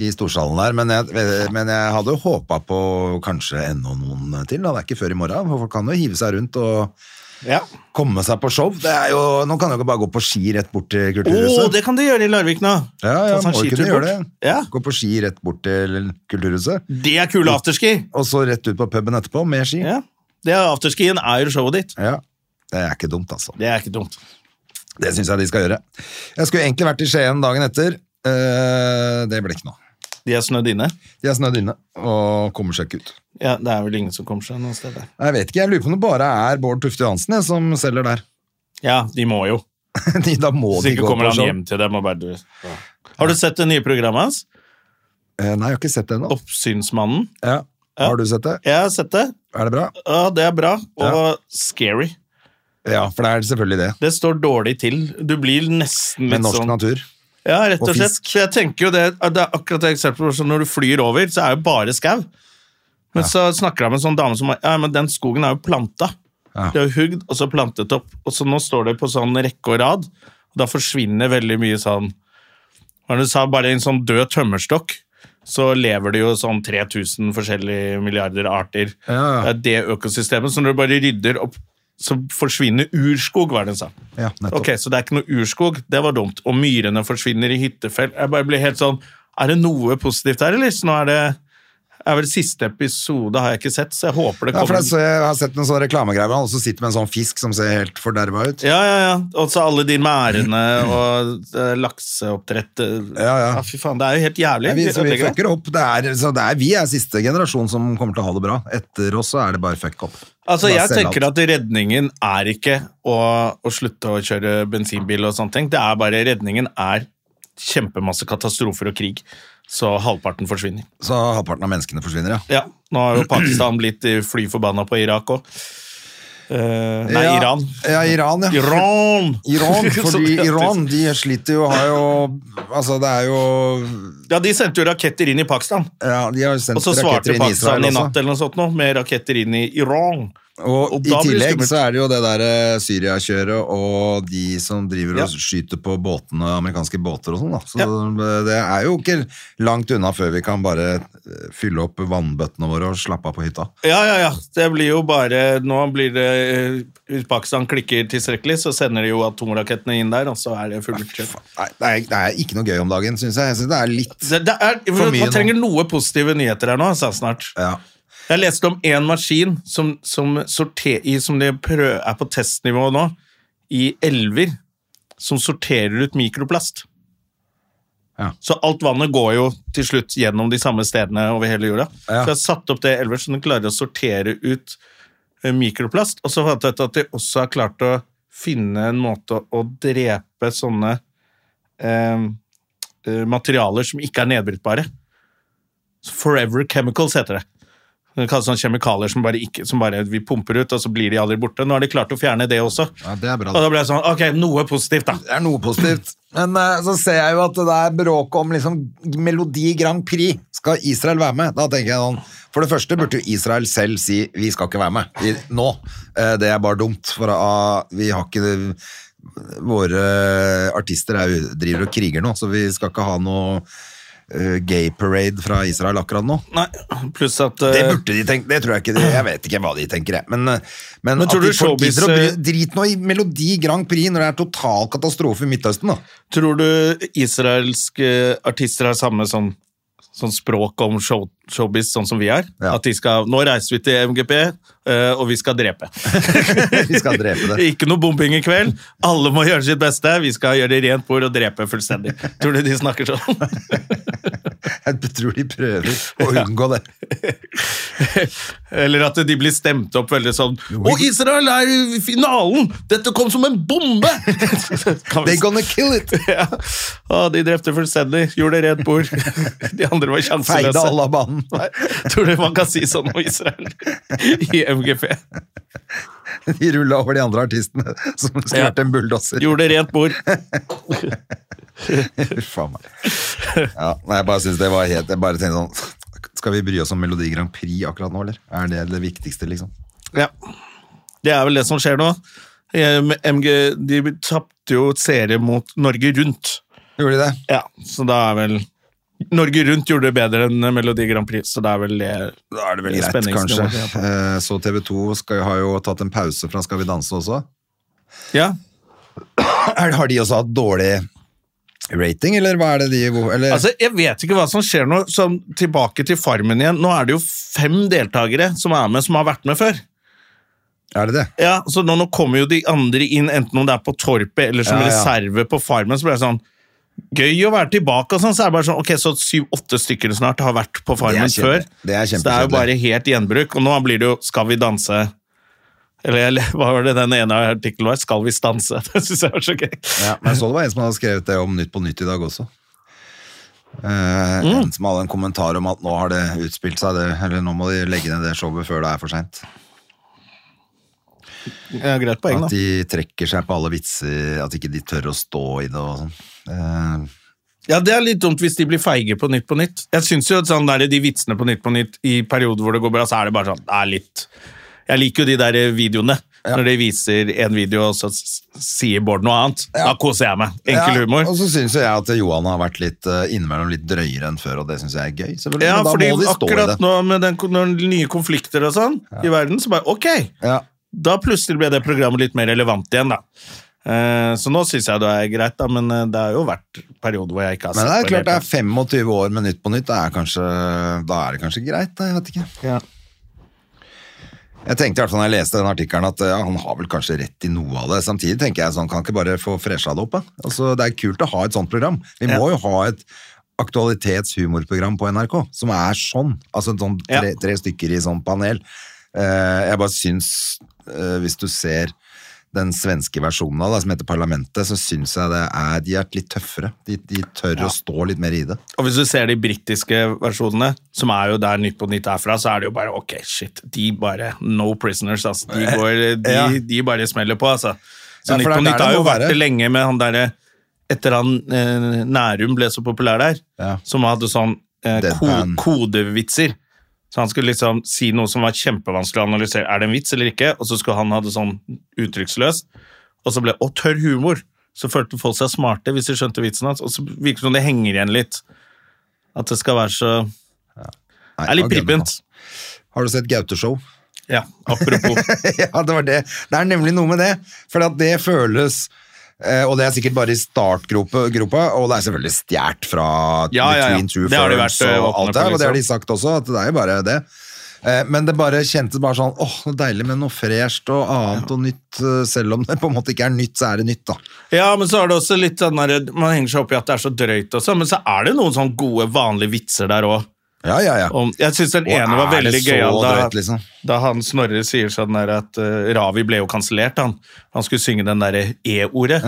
I storsalen der. Men jeg, eh, men jeg hadde jo håpa på kanskje enda noen til. Da. Det er ikke før i morgen. for Folk kan jo hive seg rundt og
Ja.
komme seg på show. Det er jo, nå kan du ikke bare gå på ski rett bort til
Å,
Kulturhuset.
det kan du gjøre i Larvik nå!
ja,
Ta
ja,
sånn
må jo
skitur
kunne gjøre det.
bort. Ja.
Gå på ski rett bort til Kulturhuset,
Det er kule afterski!
og så rett ut på puben etterpå med ski.
Ja. Det er afterskien er jo showet ditt.
Ja. Det er ikke dumt, altså.
Det er ikke dumt.
Det syns jeg de skal gjøre. Jeg skulle egentlig vært i Skien dagen etter. Eh, det ble ikke noe.
De er snødd inne.
De er snødd inne og kommer seg ikke ut.
Ja, det er vel ingen som kommer seg noe sted der.
Jeg vet ikke, jeg lurer på om det bare er Bård Tufte Johansen jeg, som selger der.
Ja, de må jo.
De, da må
Hvis
de
ikke
gå på
kommer han
show.
hjem til dem og bare du. Har du sett det nye programmet hans?
Eh, nei, jeg har ikke sett det ennå.
Oppsynsmannen.
Ja.
Ja.
Har du sett det?
Jeg har sett det.
Er det bra?
Ja, det er bra. Og scary.
Ja, for det er selvfølgelig det.
Det står dårlig til. Du blir nesten litt
Med norsk
sånn
natur.
Ja, rett og,
og
slett.
fisk.
For jeg tenker jo det, det er akkurat det eksempelet hvor sånn når du flyr over, så er jo bare skau. Men så snakker jeg med en sånn dame som Ja, men den skogen er jo planta.
Ja.
Det er jo hugd, og så plantet opp. Og så nå står det på sånn rekke og rad. Og da forsvinner veldig mye sånn Hva er det du sa? Bare en sånn død tømmerstokk. Så lever det jo sånn 3000 forskjellige milliarder arter.
Ja, ja.
Det er det økosystemet. Så når du bare rydder opp, så forsvinner urskog, var det hun sa.
Ja, nettopp.
Ok, Så det er ikke noe urskog. Det var dumt. Og myrene forsvinner i hyttefelt. Jeg bare blir helt sånn Er det noe positivt her, eller? Så nå er det er vel Siste episode har jeg ikke sett, så jeg håper det
Ja, for
kommer
jeg, så jeg har sett noen sånne reklamegreier hvor han også sitter med en sånn fisk som ser helt forderva ut.
Ja, ja, ja. Og så alle de merdene og eh, lakseoppdrett eh.
Ja, ja.
Fy faen, det er jo helt jævlig.
Nei, vi, så vi
opplegget der.
fucker opp. Det er, så det er, vi er siste generasjon som kommer til å ha det bra. Etter oss så er det bare fuck up.
Altså,
Bare
jeg
selge
tenker
alt.
at redningen er ikke å, å slutte å kjøre bensinbil og sånne ting. Det er bare redningen er kjempemasse katastrofer og krig. Så halvparten forsvinner.
Så halvparten av menneskene forsvinner, ja.
Ja, nå har jo Pakistan blitt eh, fly forbanna på Irak òg. nei,
ja,
Iran.
Ja, Iran, ja.
Iran!
Iran,
Så
fordi
det-
Iran, de sliter jo, har jo Altså, det er jo
Ja, de sendte jo raketter inn i Pakistan.
ja, De har jo
Og
sendt
så svarte
raketter inn i
Pakistan
Israel
i natt
også.
eller noe sånt nå, med raketter inn i Iran.
Og,
Og
i
da blir det
tillegg
skummelt.
så er det jo det der eh, Syria-kjøret og de som driver og
Ja.
skyter på båtene, amerikanske båter og sånn, da. Så eh, det er jo ikke langt unna før vi kan bare eh, fylle opp vannbøttene våre og slappe av på hytta.
Ja, ja, ja. Det blir jo bare Nå blir det eh, Hvis Pakistan klikker tilstrekkelig, så sender de jo atomrakettene inn der, og så er det fullt kjør.
Nei, det er, det er ikke noe gøy om dagen, syns jeg. Jeg synes det er litt
Det, det er,
For mye
man trenger noe positive nyheter her nå, sa snart.
ja.
Jeg leste om en maskin som, som, sorter, i, som de prø- er på testnivå nå, i elver, som sorterer ut mikroplast.
Ja.
Så alt vannet går jo til slutt gjennom de samme stedene over hele jorda.
Ja.
Så jeg har satt opp det elver så den klarer å sortere ut eh, mikroplast. Og så fant jeg ut at de også har klart å finne en måte å drepe sånne eh, eh, materialer som ikke er nedbrytbare. Forever Chemicals heter det. Det kalles sånne kjemikalier som bare, ikke, som bare vi pumper ut, og så blir de aldri borte. Nå har de klart å fjerne det også.
Ja, det er bra.
Og da ble jeg sånn, ok, noe positivt da.
Det er noe positivt. Men eh, så ser jeg jo at det er bråk om liksom Melodi Grand Prix. Skal Israel være med? Da tenker jeg sånn For det første burde jo Israel selv si vi skal ikke være med i, nå. Eh, Det er bare dumt, for ah, vi har ikke Våre artister er, jo- driver og kriger nå, så vi skal ikke ha noe eh, gay parade fra Israel akkurat nå.
Nei, pluss at...
Det
eh,
burde de tenke, det tror jeg ikke de, jeg vet ikke hva de tenker, jeg. men, eh, men,
Men tror
at de
du
folk
showbiz,
gidder å bry,
eh,
drit nå i Melodi Grand Prix når det er total katastrofe i Midtøsten, da.
Tror du israelske eh, artister har samme sånn, sånn språk om show, showbiz, sånn som vi er?
Ja.
At de skal Nå reiser vi til MGP, eh, og vi skal drepe.
Vi skal drepe det.
Ikke noe bombing i kveld. Alle må gjøre sitt beste. Vi skal gjøre det rent bord og drepe fullstendig. Tror du de snakker sånn?
Jeg tror de prøver å unngå det.
Eller at de blir stemt opp veldig sånn Og Israel er i finalen! Dette kom som en bombe! Kan vi
They gonna kill it!
ja. Å, de drepte fullstendig. Gjorde det rent bord. De andre var sjanseløse.
Feide alle av banen.
Nei, tror du man kan si sånn om Israel i MGP?
De rulla over de andre artistene som skulle
Ja.
vært en bulldoser.
Gjorde rent bord.
Uff a meg. Ja, nei, jeg bare synes det var helt Jeg bare tenkte sånn Skal vi bry oss om Melodi Grand Prix akkurat nå, eller? Er det det viktigste, liksom?
Ja. Det er vel det som skjer nå. Eh, MG de tapte jo serie mot Norge Rundt.
Gjorde de det?
Ja, så da er vel Norge Rundt gjorde det bedre enn Melodi Grand Prix, så da er vel det
Da er det vel greit,
Spenningsnivå,
kanskje.
ja.
Eh, Så TV 2 skal, har jo tatt en pause fra Skal vi danse også.
Ja.
Er, har de også hatt dårlig rating, eller hva er det de eller?
Altså, jeg vet ikke hva som skjer nå. Sånn, tilbake til Farmen igjen. Nå er det jo fem deltakere som er med, som har vært med før.
Er det det?
Ja, så nå, nå kommer jo de andre inn, enten om det er på torpet eller som
Ja, ja.
reserve på farmen, så blir det sånn gøy å være tilbake og sånn, så er det bare sånn, ok, så syv-åtte stykker snart har vært på farmen
kjempe-
før.
det er
så det er jo
kjempekjedelig.
bare helt gjenbruk, og nå blir det jo Skal vi danse? Eller eller, hva var det den ene artikkelen var? Skal vi stanse? Det synes jeg var så gøy.
Ja, men jeg så det var en som hadde skrevet det om Nytt på Nytt i dag også. Eh, En som hadde en kommentar om at nå har det utspilt seg, det, eller nå må de legge ned det showet før det er for seint.
Ja, greit poeng,
At
da.
de trekker seg på alle vitser, at ikke de tør å stå i det og sånn. Eh,
Ja, det er litt dumt hvis de blir feige på Nytt på Nytt. Jeg synes jo at sånn der, de vitsene på Nytt på Nytt i perioder hvor det går bra, så er det bare sånn, det er litt... Jeg liker jo de der eh, videoene. Når de viser en video, og så s- sier Bård noe annet. Da koser jeg meg. Enkel
ja,
humor.
Og så syns jo jeg at Johan har vært litt eh, innimellom litt drøyere enn før, og det syns jeg er gøy. selvfølgelig.
Ja,
Men da
fordi
må de stå i det.
akkurat nå med den, kon- når nye konflikter og sånn i verden, så bare, ok,
Ja.
da plutselig ble det programmet litt mer relevant igjen, da. Eh, Så nå synes jeg det er greit, da, men eh, det har jo vært perioder hvor jeg ikke har
Men
sett
det er
på
klart det
hele
er 25 år med Nytt på Nytt, da er, kanskje, da er det kanskje greit, da, jeg vet ikke.
tatt. Ja.
Jeg tenkte i hvert fall når jeg leste den artikkelen at ja, han har vel kanskje rett i noe av det. Samtidig tenker jeg sånn, kan ikke bare få fresha det opp, da? Altså, det er kult å ha et sånt program. Vi må jo ha et aktualitetshumorprogram på NRK, som er sånn. Altså en sånn tre,
Ja.
tre stykker i sånn panel. Eh, jeg bare syns, eh, hvis du ser den svenske versjonen av det, som heter Parlamentet, så syns jeg det er, de er litt tøffere. De, de tør å stå litt mer i det.
Og hvis du ser de britiske versjonene, som er jo der Nytt på Nytt er fra, så er det jo bare ok, shit, de bare no prisoners, altså. De, går,
Eh,
de,
Ja.
de bare smeller på, altså.
Ja,
Så
for det er
Nytt på
der
Nytt
det
har
må
jo vært
være.
det lenge med han eh, derre Etter han eh, Nærum ble så populær der,
Ja.
som hadde sånn eh, ko
Deadpan.
kodevitser. Så han skulle liksom si noe som var kjempevanskelig å analysere. Er det en vits eller ikke? Og så skulle han ha det sånn uttrykksløst. Og så ble det Å, tørr humor! Så følte folk seg smarte hvis de skjønte vitsen hans. Og så virker det som det henger igjen litt. At det skal være så
Nei,
Det er litt
jeg glemmer
prippent.
det. Har du sett Gaute-show?
Ja, apropos.
ja, det var det. Det er nemlig noe med det. For at det føles eh, Og det er sikkert bare i startgropa, gropa, og det er selvfølgelig stjålet fra
Ja, ja, ja.
Between Two
Det har de
Ferns
vært, ø,
og
åpne
alt det
for,
her, og det har de
liksom.
sagt også, at det er jo bare det. Eh, Men det bare kjentes bare sånn åh, så deilig med noe fresht og annet og nytt. eh, Selv om det på en måte ikke er nytt, så er det nytt, da.
Ja, men så er det også litt sånn der, Man henger seg opp i at det er så drøyt, også, men så er det noen sånn gode, vanlige vitser der òg.
Ja, ja, ja.
Jeg syns den
Og
ene var
er det
veldig
så
gøyal da,
drøyt, liksom?
da han Snorre sier sånn der at eh, Ravi ble jo kansellert, han. Han skulle synge den derre E-ordet.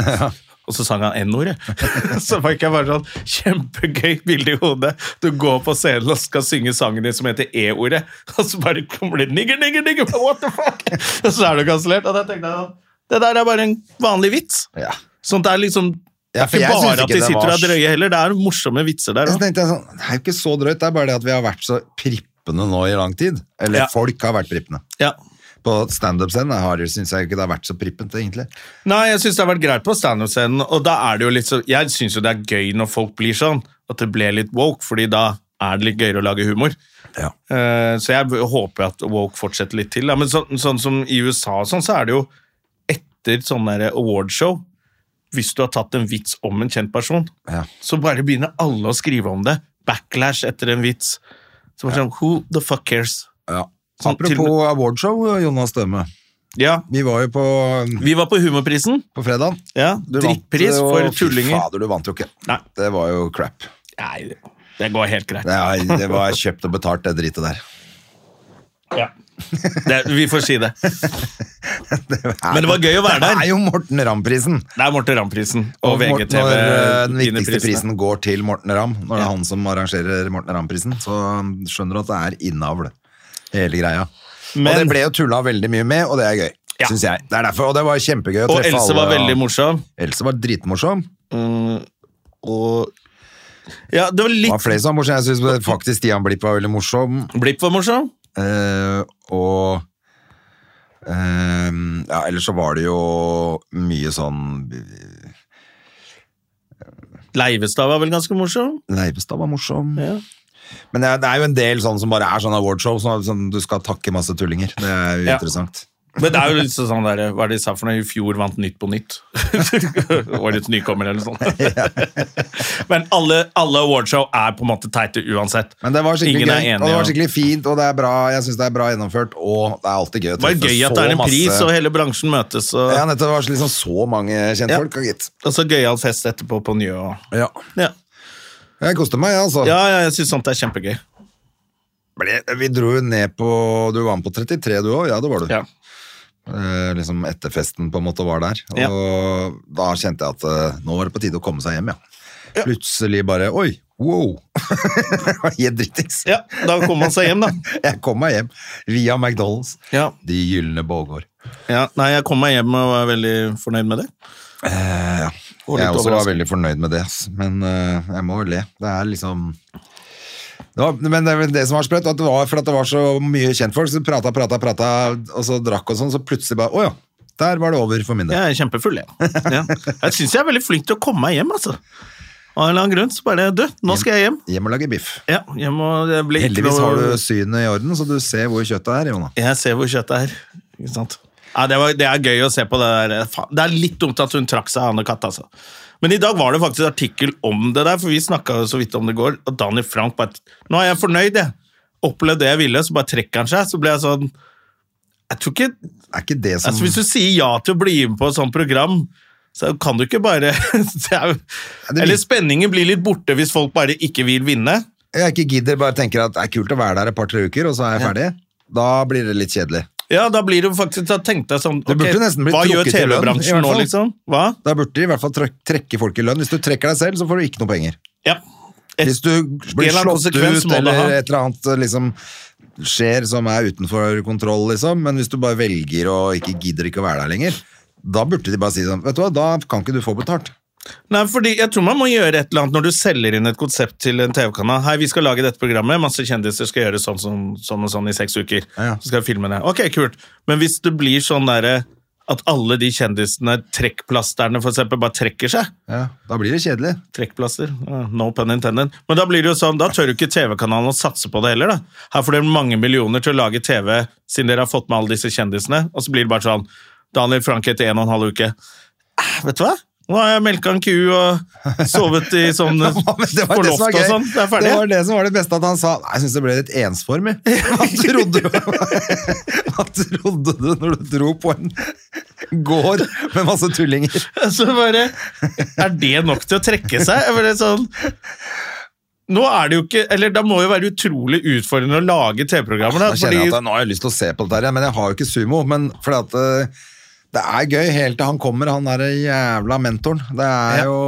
Og så sang han N-ordet. så fikk jeg bare sånn kjempegøy bilde i hodet. Du går på scenen og skal synge sangen din som heter E-ordet, og så bare kommer det nigger, nigger, nigger, what the fuck? Og så er du kansellert. Og da tenkte jeg sånn, det der er bare en vanlig vits.
Ja.
Sånn det er liksom det
Ja,
er
for
ikke
jeg synes
bare
ikke
at de
det
sitter
var
og er drøye heller, det er morsomme vitser der
Så
òg.
tenkte jeg sånn, det er jo ikke så drøyt, det er bare det at vi har vært så prippende nå i lang tid. Eller
Ja.
folk har vært prippende.
Ja.
På standup-scenen har- synes jeg ikke det har vært så prippent, egentlig.
Nei, jeg syns det har vært greit på standup-scenen, og da er det jo litt så Jeg syns jo det er gøy når folk blir sånn, at det ble litt woke, fordi da er det litt gøyere å lage humor.
Ja.
Eh, så jeg håper at woke fortsetter litt til. Da. Men sånn- sånn som i USA og sånn, så er det jo etter sånne der awardshow Hvis du har tatt en vits om en kjent person,
Ja.
så bare begynner alle å skrive om det. Backlash etter en vits. Så bare sånn, Who the fuck cares?
Ja.
Sånn, til-
Apropos awardshow, Jonas Døme.
Ja,
Vi var jo på,
Vi var på Humorprisen.
på fredag.
Ja, Drittpris for tullinger.
Fader, du vant jo ikke.
Nei.
Det var jo crap.
Nei, det går helt greit.
Det, er, det var kjøpt og betalt, det dritet der.
Ja. Det, vi får si det.
Det er-
Men det var gøy å
Det
være der.
er jo Morten Ramm-prisen.
Det er Morten Ramm-prisen og
Morten- når eh, den viktigste
VGTV-vinnerprisen.
prisen går til Morten Ramm, når det
Ja.
er han som arrangerer Morten Ramm-prisen, så um, skjønner du at det er innavl, hele greia. og
Men-
det ble jo tulla veldig mye med, og det er gøy,
Ja.
synes jeg. Det er derfor, og det var kjempegøy å
Og
treffe
Else
alle.
var veldig
og-
morsom. Mm,
Else var dritmorsom.
Og Ja, det var
Det var
litt
flere som var morsomme. Jeg synes faktisk Stian Blipp var veldig morsom.
Blipp var morsom.
Eh, og eh, Ja, ellers så var det jo mye sånn
Leivestad var vel ganske morsom.
Leivestad var morsom.
Ja.
Men det er, det er jo en del sånn som bare er sånn awardshow, sånn, sånn du skal takke masse tullinger. Det er jo
Ja.
interessant.
Men det er jo litt sånn der, hva er det de sa for noe? I fjor vant Nytt på Nytt. Årets nykommer eller noe sånt. Men alle, alle awardshow er på en måte teite uansett.
Men det var skikkelig
Ingen er
gøy,
enige,
og det
ja.
var skikkelig fint, og det er bra, jeg synes det er bra gjennomført, og det er alltid gøy å
Det var
treffe
gøy at
så
det er en pris,
masse-
og hele bransjen møtes. Og,
Ja, nettopp, det var liksom så mange kjente
Ja.
folk, ja, gitt.
og så gøyal fest etterpå på Njø. Og,
Ja.
ja.
Jeg koste meg, ja, altså.
ja, ja, jeg syns sånt er kjempegøy.
Ble- Vi dro jo ned på, du var med på 33 du også, ja det var du.
Ja.
Eh, liksom etter festen på en måte var der, og
Ja.
da kjente jeg at eh, nå var det på tide å komme seg hjem, ja. Plutselig bare, oi, wow. Det var Helt drittings.
ja, da kom man seg hjem, da.
Jeg kom meg hjem via McDonald's.
Ja.
De gyllene bågård.
Ja, nei, jeg kom meg hjem og var veldig fornøyd med det. Og litt
Jeg også var
overrasket.
veldig fornøyd med det, ass. men eh, jeg må jo le. Det er liksom det var, Men det, er vel det som var sprøtt, at det var for at det var så mye kjentfolk som prata, prata, prata, og så drakk og sånn, så plutselig bare Å ja, der var det over for min del.
Jeg er kjempefull, jeg. Ja. Jeg syns jeg er veldig flink til å komme meg hjem, altså. Av en eller annen grunn. Så bare Du, nå skal jeg hjem.
Hjem og lage biff.
Ja, hjem og det blir ikke
Heldigvis
noe-
har du synet i orden, så du ser hvor kjøttet er, Jona.
Jeg ser hvor kjøttet er. Ikke sant? Ja, det, var, det er gøy å se på det der. Faen, Det er litt dumt at hun trakk seg, Anne Katt. Altså. Men i dag var det faktisk artikkel om det der, for vi snakka så vidt om det i går. Og Daniel Frank bare Nå er jeg fornøyd, jeg. Opplevde det jeg ville, så bare trekker han seg. Så ble jeg sånn Jeg tror ikke
Er ikke det som
altså, Hvis du sier ja til å bli med på et sånt program, så kan du ikke bare det er, jo-
det-
Eller spenningen blir litt borte hvis folk bare ikke vil vinne.
Jeg ikke gidder, bare tenker at det er kult å være der et par-tre uker, og så er jeg ferdig. Da blir det litt kjedelig.
Ja, da blir det faktisk Da tenkte jeg sånn
Det burde
ok,
jo nesten blitt
Hva gjør
trukket i lønn, i
TV-bransjen
hvert
nå,
fall.
liksom? Hva?
Da burde de i hvert fall tre- trekke folk i lønn. Hvis du trekker deg selv, så får du ikke noe penger.
Ja. Et-
Hvis du blir
eller annen
slått
konsekvens
ut
må det
eller
ha.
et eller annet liksom, skjer som er utenfor kontroll, liksom, men hvis du bare velger og ikke gidder ikke å være der lenger, da burde de bare si sånn, vet du hva, da kan ikke du få betalt.
Nei, fordi jeg tror man må gjøre et eller annet når du selger inn et konsept til en TV-kanal. Hei, vi skal lage dette programmet, masse kjendiser skal gjøre sånn, sånn, sånn og sånn i seks uker.
Ja.
Så skal vi filme det. Ok, kult. Men hvis det blir sånn derre at alle de kjendisene, trekkplasterne for eksempel, bare trekker seg.
Ja, da blir det kjedelig.
Trekkplaster, ja, no pun intended. Men da blir det jo sånn, da tør jo ikke TV-kanalen å satse på det heller, da. Her får dere mange millioner til å lage TV, siden dere har fått med alle disse kjendisene, og så blir det bare sånn, Daniel Frank etter en og en halv uke. Eh, vet du hva? Nå har jeg melka en ku og sovet i sånn
Det var det som
på
var
loftet og
gøy.
sånn. Det er ferdig.
Det var det som var det beste, at han sa Nei, jeg syns det ble litt ensformig. Hva trodde du Hva trodde du når du dro på en gård med masse tullinger?
Så bare Er det nok til å trekke seg? Jeg bare sånn Nå er det jo ikke Eller da må jo være utrolig utfordrende å lage TV-programmer,
Nå
da.
kjenner
Fordi
jeg at jeg- nå har jeg lyst til å se på det der, ja, men jeg har jo ikke sumo. Men fordi at eh, det er gøy helt til han kommer, han derre jævla mentoren. Det er jo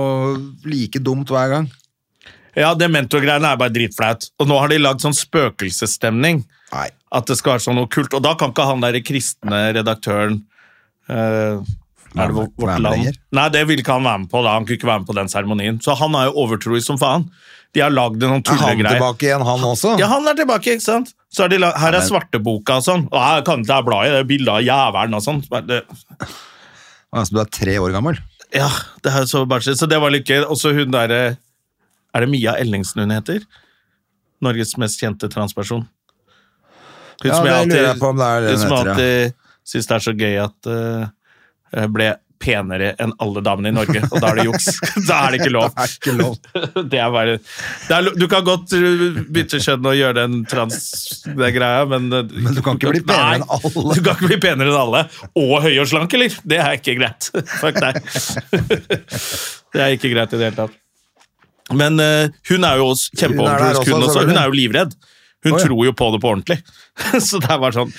like dumt hver gang.
Ja, det mentorgreiene er bare dritflaut. Og nå har de lagd sånn spøkelsesstemning.
Nei.
At det skal være sånn okkult. Og da kan ikke han derre kristne redaktøren eh, Er
Være
det vårt, vårt
med
land?
lenger?
Nei, det ville ikke han være med på. da. Han kunne ikke være med på den seremonien. Så han er jo overtroisk som faen. De har lagd en sånn
Er han
tullegreie.
tilbake igjen, han også?
Ja, han er tilbake, ikke sant? Så er de la her er svarteboka og sånn. Og her kan ikke jeg bla i det bildet av jævelen og sånn. Bare det-
Altså, du er tre år gammel?
Ja, det er jo så barnslig. Så det var litt gøy. Også hun derre Er det Mia Ellingsen hun heter? Norges mest kjente transperson. Hun
Ja,
som
det lurer
jeg alltid,
jeg på om det er det hun
hun som jeg
heter,
alltid syns det er så gøy at eh, jeg ble penere enn alle damene i Norge, og da er det juks. da er det ikke lov.
Det er ikke lov.
Det er bare, det er, lo- du kan godt uh, bytte kjønn og gjøre den trans det greia, men uh,
Men du kan ikke bli penere enn alle.
Du kan ikke bli penere enn alle. Og høy og slank, eller? Det er ikke greit. Fuck deg. Det er ikke greit i det hele tatt. Men uh, hun er jo
Hun
også
er der
kjempeovertroisk,
også,
hun også. Hun
selvfølgelig.
er jo livredd. Hun
Å, ja.
tror jo på det på ordentlig. Så det er bare sånn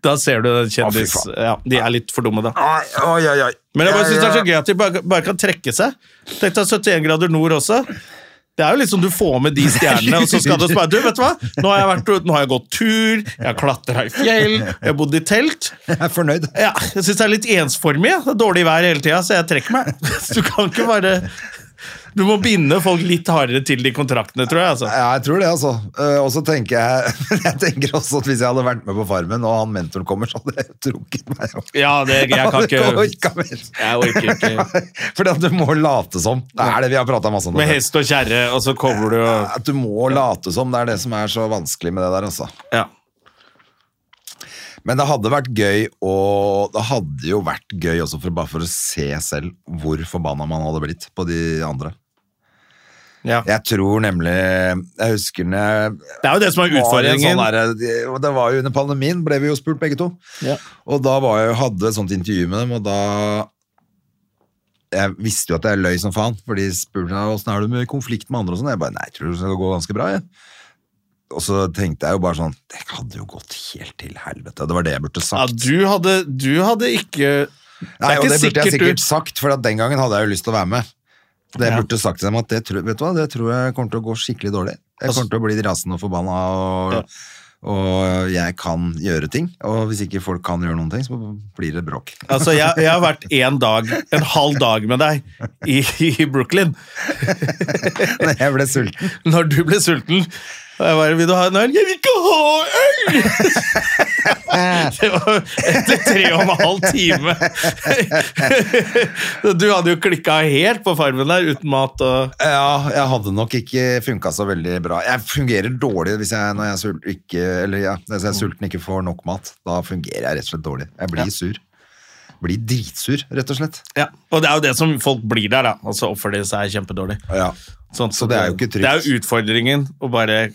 Da ser du den kjendis...
faen.
Ja, de er litt for dumme, da.
Ai, ai, ai, ai.
Men jeg bare synes det er så
Jeg-
gøy at de bare, bare kan trekke seg. Tenk deg 71 grader nord også. Det er jo liksom du får med de stjernene, og så skal du bare Du, vet du hva? Nå har jeg, vært, ut- nå har jeg gått tur, jeg har klatra i fjell, jeg har bodd i telt.
Jeg er fornøyd.
Ja, jeg syns det er litt ensformig. ja. Det er dårlig vær hele tida, så jeg trekker meg. Du kan ikke bare Du må binde folk litt hardere til de kontraktene, tror jeg. altså.
Ja, jeg tror det, altså. Eh, Og så tenker jeg Jeg tenker også at hvis jeg hadde vært med på Farmen, og han mentoren kommer, så hadde jeg trukket meg opp.
Ja, det, jeg kan ikke
orka mer.
Jeg orker ikke.
Fordi at du må late som. Det er det vi har prata masse om.
Med hest og kjerre, og så kommer du og
At du må late som. Det er det som er så vanskelig med det der, altså.
Ja.
Men det hadde vært gøy å Det hadde jo vært gøy også for, bare for å se selv hvor forbanna man hadde blitt på de andre.
ja.
Jeg tror nemlig Jeg husker når jeg
Det er jo det som
var
er
i en
utfordringen.
Sånn der, og det var jo under pandemien, ble vi jo spurt begge to.
Ja.
Og da var jeg, hadde jeg et sånt intervju med dem, og da Jeg visste jo at jeg løy som faen, for de spurte meg åssen er du med konflikt med andre og sånn. Jeg bare nei, jeg tror det skal gå ganske bra, jeg. Og så tenkte jeg jo bare sånn Det hadde jo gått helt til helvete. Det var det jeg burde
Ja,
sagt.
du hadde, du hadde ikke
Nei,
ikke
og det burde jeg
sikkert
sikkert
du-
sagt, for at den gangen hadde jeg jo lyst til å være med. Det jeg
Ja.
burde sagt til dem at det, tror- vet du hva, det tror jeg kommer til å gå skikkelig dårlig. Jeg
Altså-
kommer til å bli rasende og forbanna, og,
Ja.
og jeg kan gjøre ting. Og hvis ikke folk kan gjøre noen ting, så blir det bråk.
Altså, jeg, jeg har vært en dag, en halv dag med deg i, i Brooklyn.
Nei, jeg ble sulten.
Når du ble sulten, og jeg bare 'Vil du ha en øl?' 'Jeg vil ikke ha øl!' Det var etter tre og en halv time. Du hadde jo klikka helt på farmen der, uten mat og
Ja, jeg hadde nok ikke funka så veldig bra. Jeg fungerer dårlig hvis jeg, når jeg er sulten ikke, eller ja, hvis jeg er sulten ikke får nok mat. Da fungerer jeg rett og slett dårlig. Jeg blir sur. Blir dritsur, rett og slett.
ja. Og det er jo det som folk blir der, da. Og så oppfører de seg kjempedårlig.
Ja.
Sånn,
Så det er jo ikke trygt.
Det er jo utfordringen å bare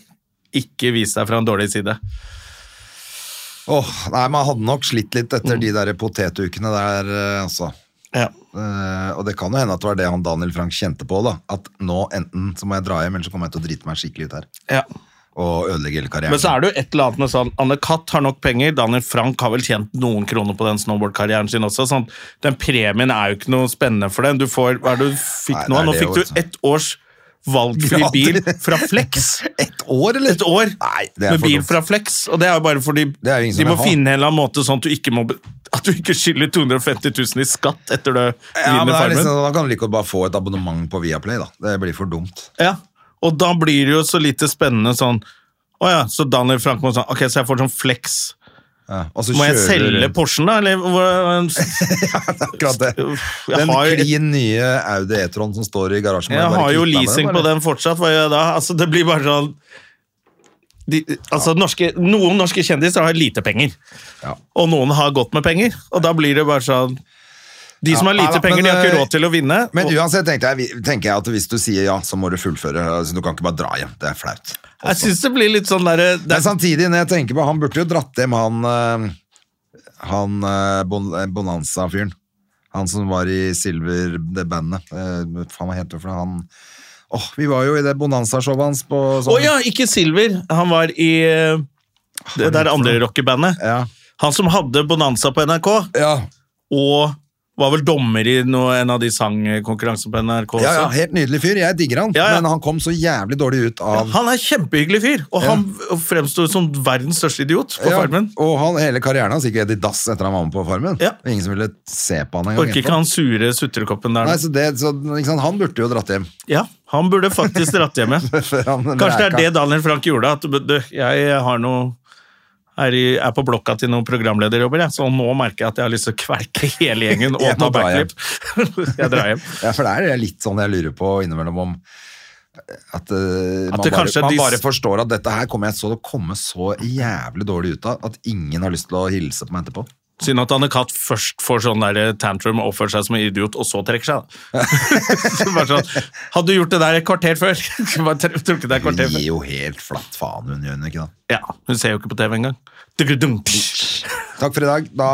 ikke vise deg fra en dårlig side.
Åh, nei, man hadde nok slitt litt
Mm.
etter de der potetukene der, eh, altså.
Ja.
Eh, og det kan jo hende at det var det han Daniel Frank kjente på, da. At nå enten så må jeg dra hjem, eller så kommer jeg til å drite meg skikkelig ut her.
ja.
Og ødelegge hele karrieren.
Men så er det jo et eller annet med sånn Anne Katt har nok penger, Daniel Frank har vel tjent noen kroner på den snowboardkarrieren sin også. Sånn. Den premien er jo ikke noe spennende for den. Du får, hva er det du fikk
Nei,
nå?
det er
Nå
det
fikk
jo,
du ett års valgfri
Gratis.
bil fra Flex.
Et år, eller?
Et år
Nei, det er
med
for
bil
dumt.
fra Flex, og det er jo bare fordi
Det er jo ingen som
de
vil
må
ha.
finne en eller annen måte sånn at du ikke, må, be- at du ikke skylder 250 000 i skatt etter du
Ja, men
vinner
det er
Farmen.
liksom, Da kan du like godt bare få et abonnement på Viaplay, da. Det blir for dumt.
Ja, og da blir det jo så lite spennende sånn Å ja, så Daniel Frank må sånn Ok, så jeg får sånn Flex.
Ja. og så
Må jeg
kjører du
selge
rundt.
Porschen, da? Eller hvor-
Akkurat det.
Uff, jeg
Den
har jo-
klin nye Audi E-tron som står i garasjen.
Jeg
bare
har jo
kvitt meg med
leasing
det,
på
bare.
den fortsatt, hva gjør jeg da? Altså, det blir bare sånn de, altså, norske, Noen norske kjendiser har lite penger,
Ja.
og noen har godt med penger. Og da blir det bare sånn De som
Ja,
har lite
ja,
penger,
men,
de har ikke
eh,
råd til å vinne.
Men
Og-
uansett tenkte jeg, vi- tenker jeg at hvis du sier ja, så må du fullføre. Altså, du kan ikke bare dra hjem. Det er flaut.
jeg syns det blir litt sånn derre det er-
Men samtidig, når jeg tenker på Han burde jo dratt hjem han eh, Han eh, bon, eh, Bonanza-fyren. Han som var i Silver, det bandet. Eh, Faen, hva heter det for noe? Han Åh, vi var jo i det Bonanza-showet hans på sånn-
Å ja, ikke Silver. Han var i eh, det der andre rockebandet.
ja.
Han som hadde Bonanza på NRK,
Ja.
og var vel dommer i noe, en av de sangkonkurransene på NRK også.
ja, ja, helt nydelig fyr. Jeg digger han,
Ja, ja.
men han kom så jævlig dårlig ut av
Han er kjempehyggelig fyr, og han fremstod som verdens største idiot på
Ja,
Farmen.
Og han, hele karrieren hans gikk helt i dass etter han var med på Farmen.
Ja.
Og Ingen som ville se på han engang.
Orker ikke han sure sutrekoppen der.
Nei,
nå.
så det, så, ikke sant? Han burde jo dratt hjem.
Ja, han burde faktisk dratt hjem, ja.
Før han
Kanskje det er
lærka.
det Daniel Frank gjorde, at du, jeg har noe er, i, er på blokka til noen programlederjobber, jeg, så nå merker jeg at jeg har lyst til å kverke hele gjengen og
Jeg
ta
må dra hjem.
backflip. jeg drar hjem.
Ja, for det er litt sånn jeg lurer på innimellom om at, eh, man,
det
bare,
kanskje er
man
dys-
bare forstår at dette her kommer jeg så til å komme så jævlig dårlig ut av at ingen har lyst til å hilse på meg etterpå.
Synd at Anne Katt først får sånn der tantrum og oppfører seg som en idiot, og så trekker seg. da. Så Bare sånn, Hadde du gjort det der et kvarter før? Bare tr- trukket deg
Hun
et kvarter
gir
før.
jo helt flatt faen, hun gjør hun ikke da.
Ja, Hun ser jo ikke på TV engang. Dugudum.
Takk for i dag. Da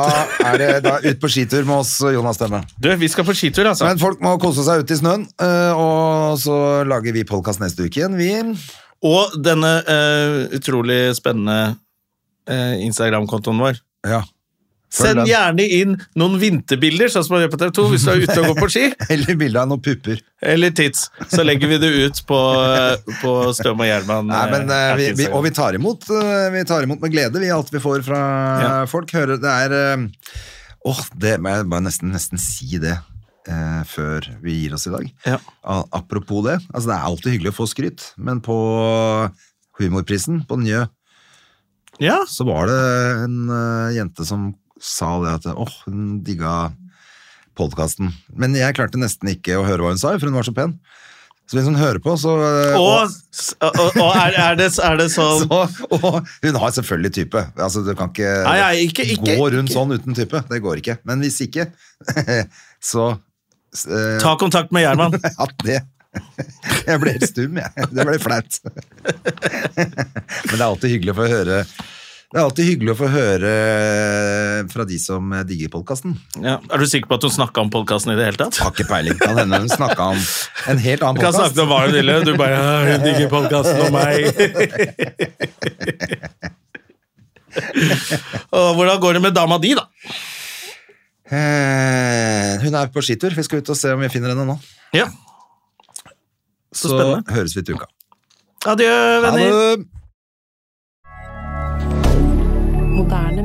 er det da ut på skitur med oss, Jonas Stemme.
Du, vi skal på skitur, altså.
Men folk må kose seg ute i snøen, eh, og så lager vi podkast neste uke igjen, vi.
Og denne eh, utrolig spennende eh, Instagram-kontoen vår.
Ja.
Send
den.
gjerne inn noen vinterbilder, sånn som man gjør på TV 2 hvis du er ute og går på ski,
Eller bilde av noen pupper.
eller tits. Så legger vi det ut på, eh, på Støm og Gjerman.
Nei, men, eh,
eh,
vi, vi,
Instagram.
og vi tar, imot, eh, vi tar imot med glede vi, alt vi får fra
Ja.
folk. Hører, det er eh, Åh, det må jeg bare nesten, nesten si det eh, før vi gir oss i dag.
Ja.
A- Apropos det. Altså, det er alltid hyggelig å få skryt, men på Humorprisen på Njø
ja.
så var det en eh, jente som sa det at åh, hun digga podkasten. Men jeg klarte nesten ikke å høre hva hun sa, for hun var så pen. Så hvis hun hører på, så eh,
Og, og, og er, er, det, er det sånn
Så, Altså, og hun har selvfølgelig type. Altså, du kan ikke,
Nei, nei, ikke- ikke-
gå rundt sånn uten type. Det går ikke. Men hvis ikke, så s- eh,
Ta kontakt med Gjerman.
at det Jeg ble helt stum, jeg. Det ble flaut. Men det er alltid hyggelig å få høre det er alltid hyggelig å få høre fra de som digger podkasten.
Ja. Er du sikker på at hun snakka om podkasten i det hele tatt?
Har ikke peiling. Kan hende hun snakka om en helt annen
Du kan
podkast.
snakke om hva hun ville. Du bare «Å, 'Hun digger podkasten og meg'. og hvordan går det med dama di, da?
Eh, Hun er på skitur. Vi skal ut og se om vi finner henne nå.
Ja.
Så,
spennende.
høres vi til uka.
Adjø,
Ha
venner.
det!
Moderne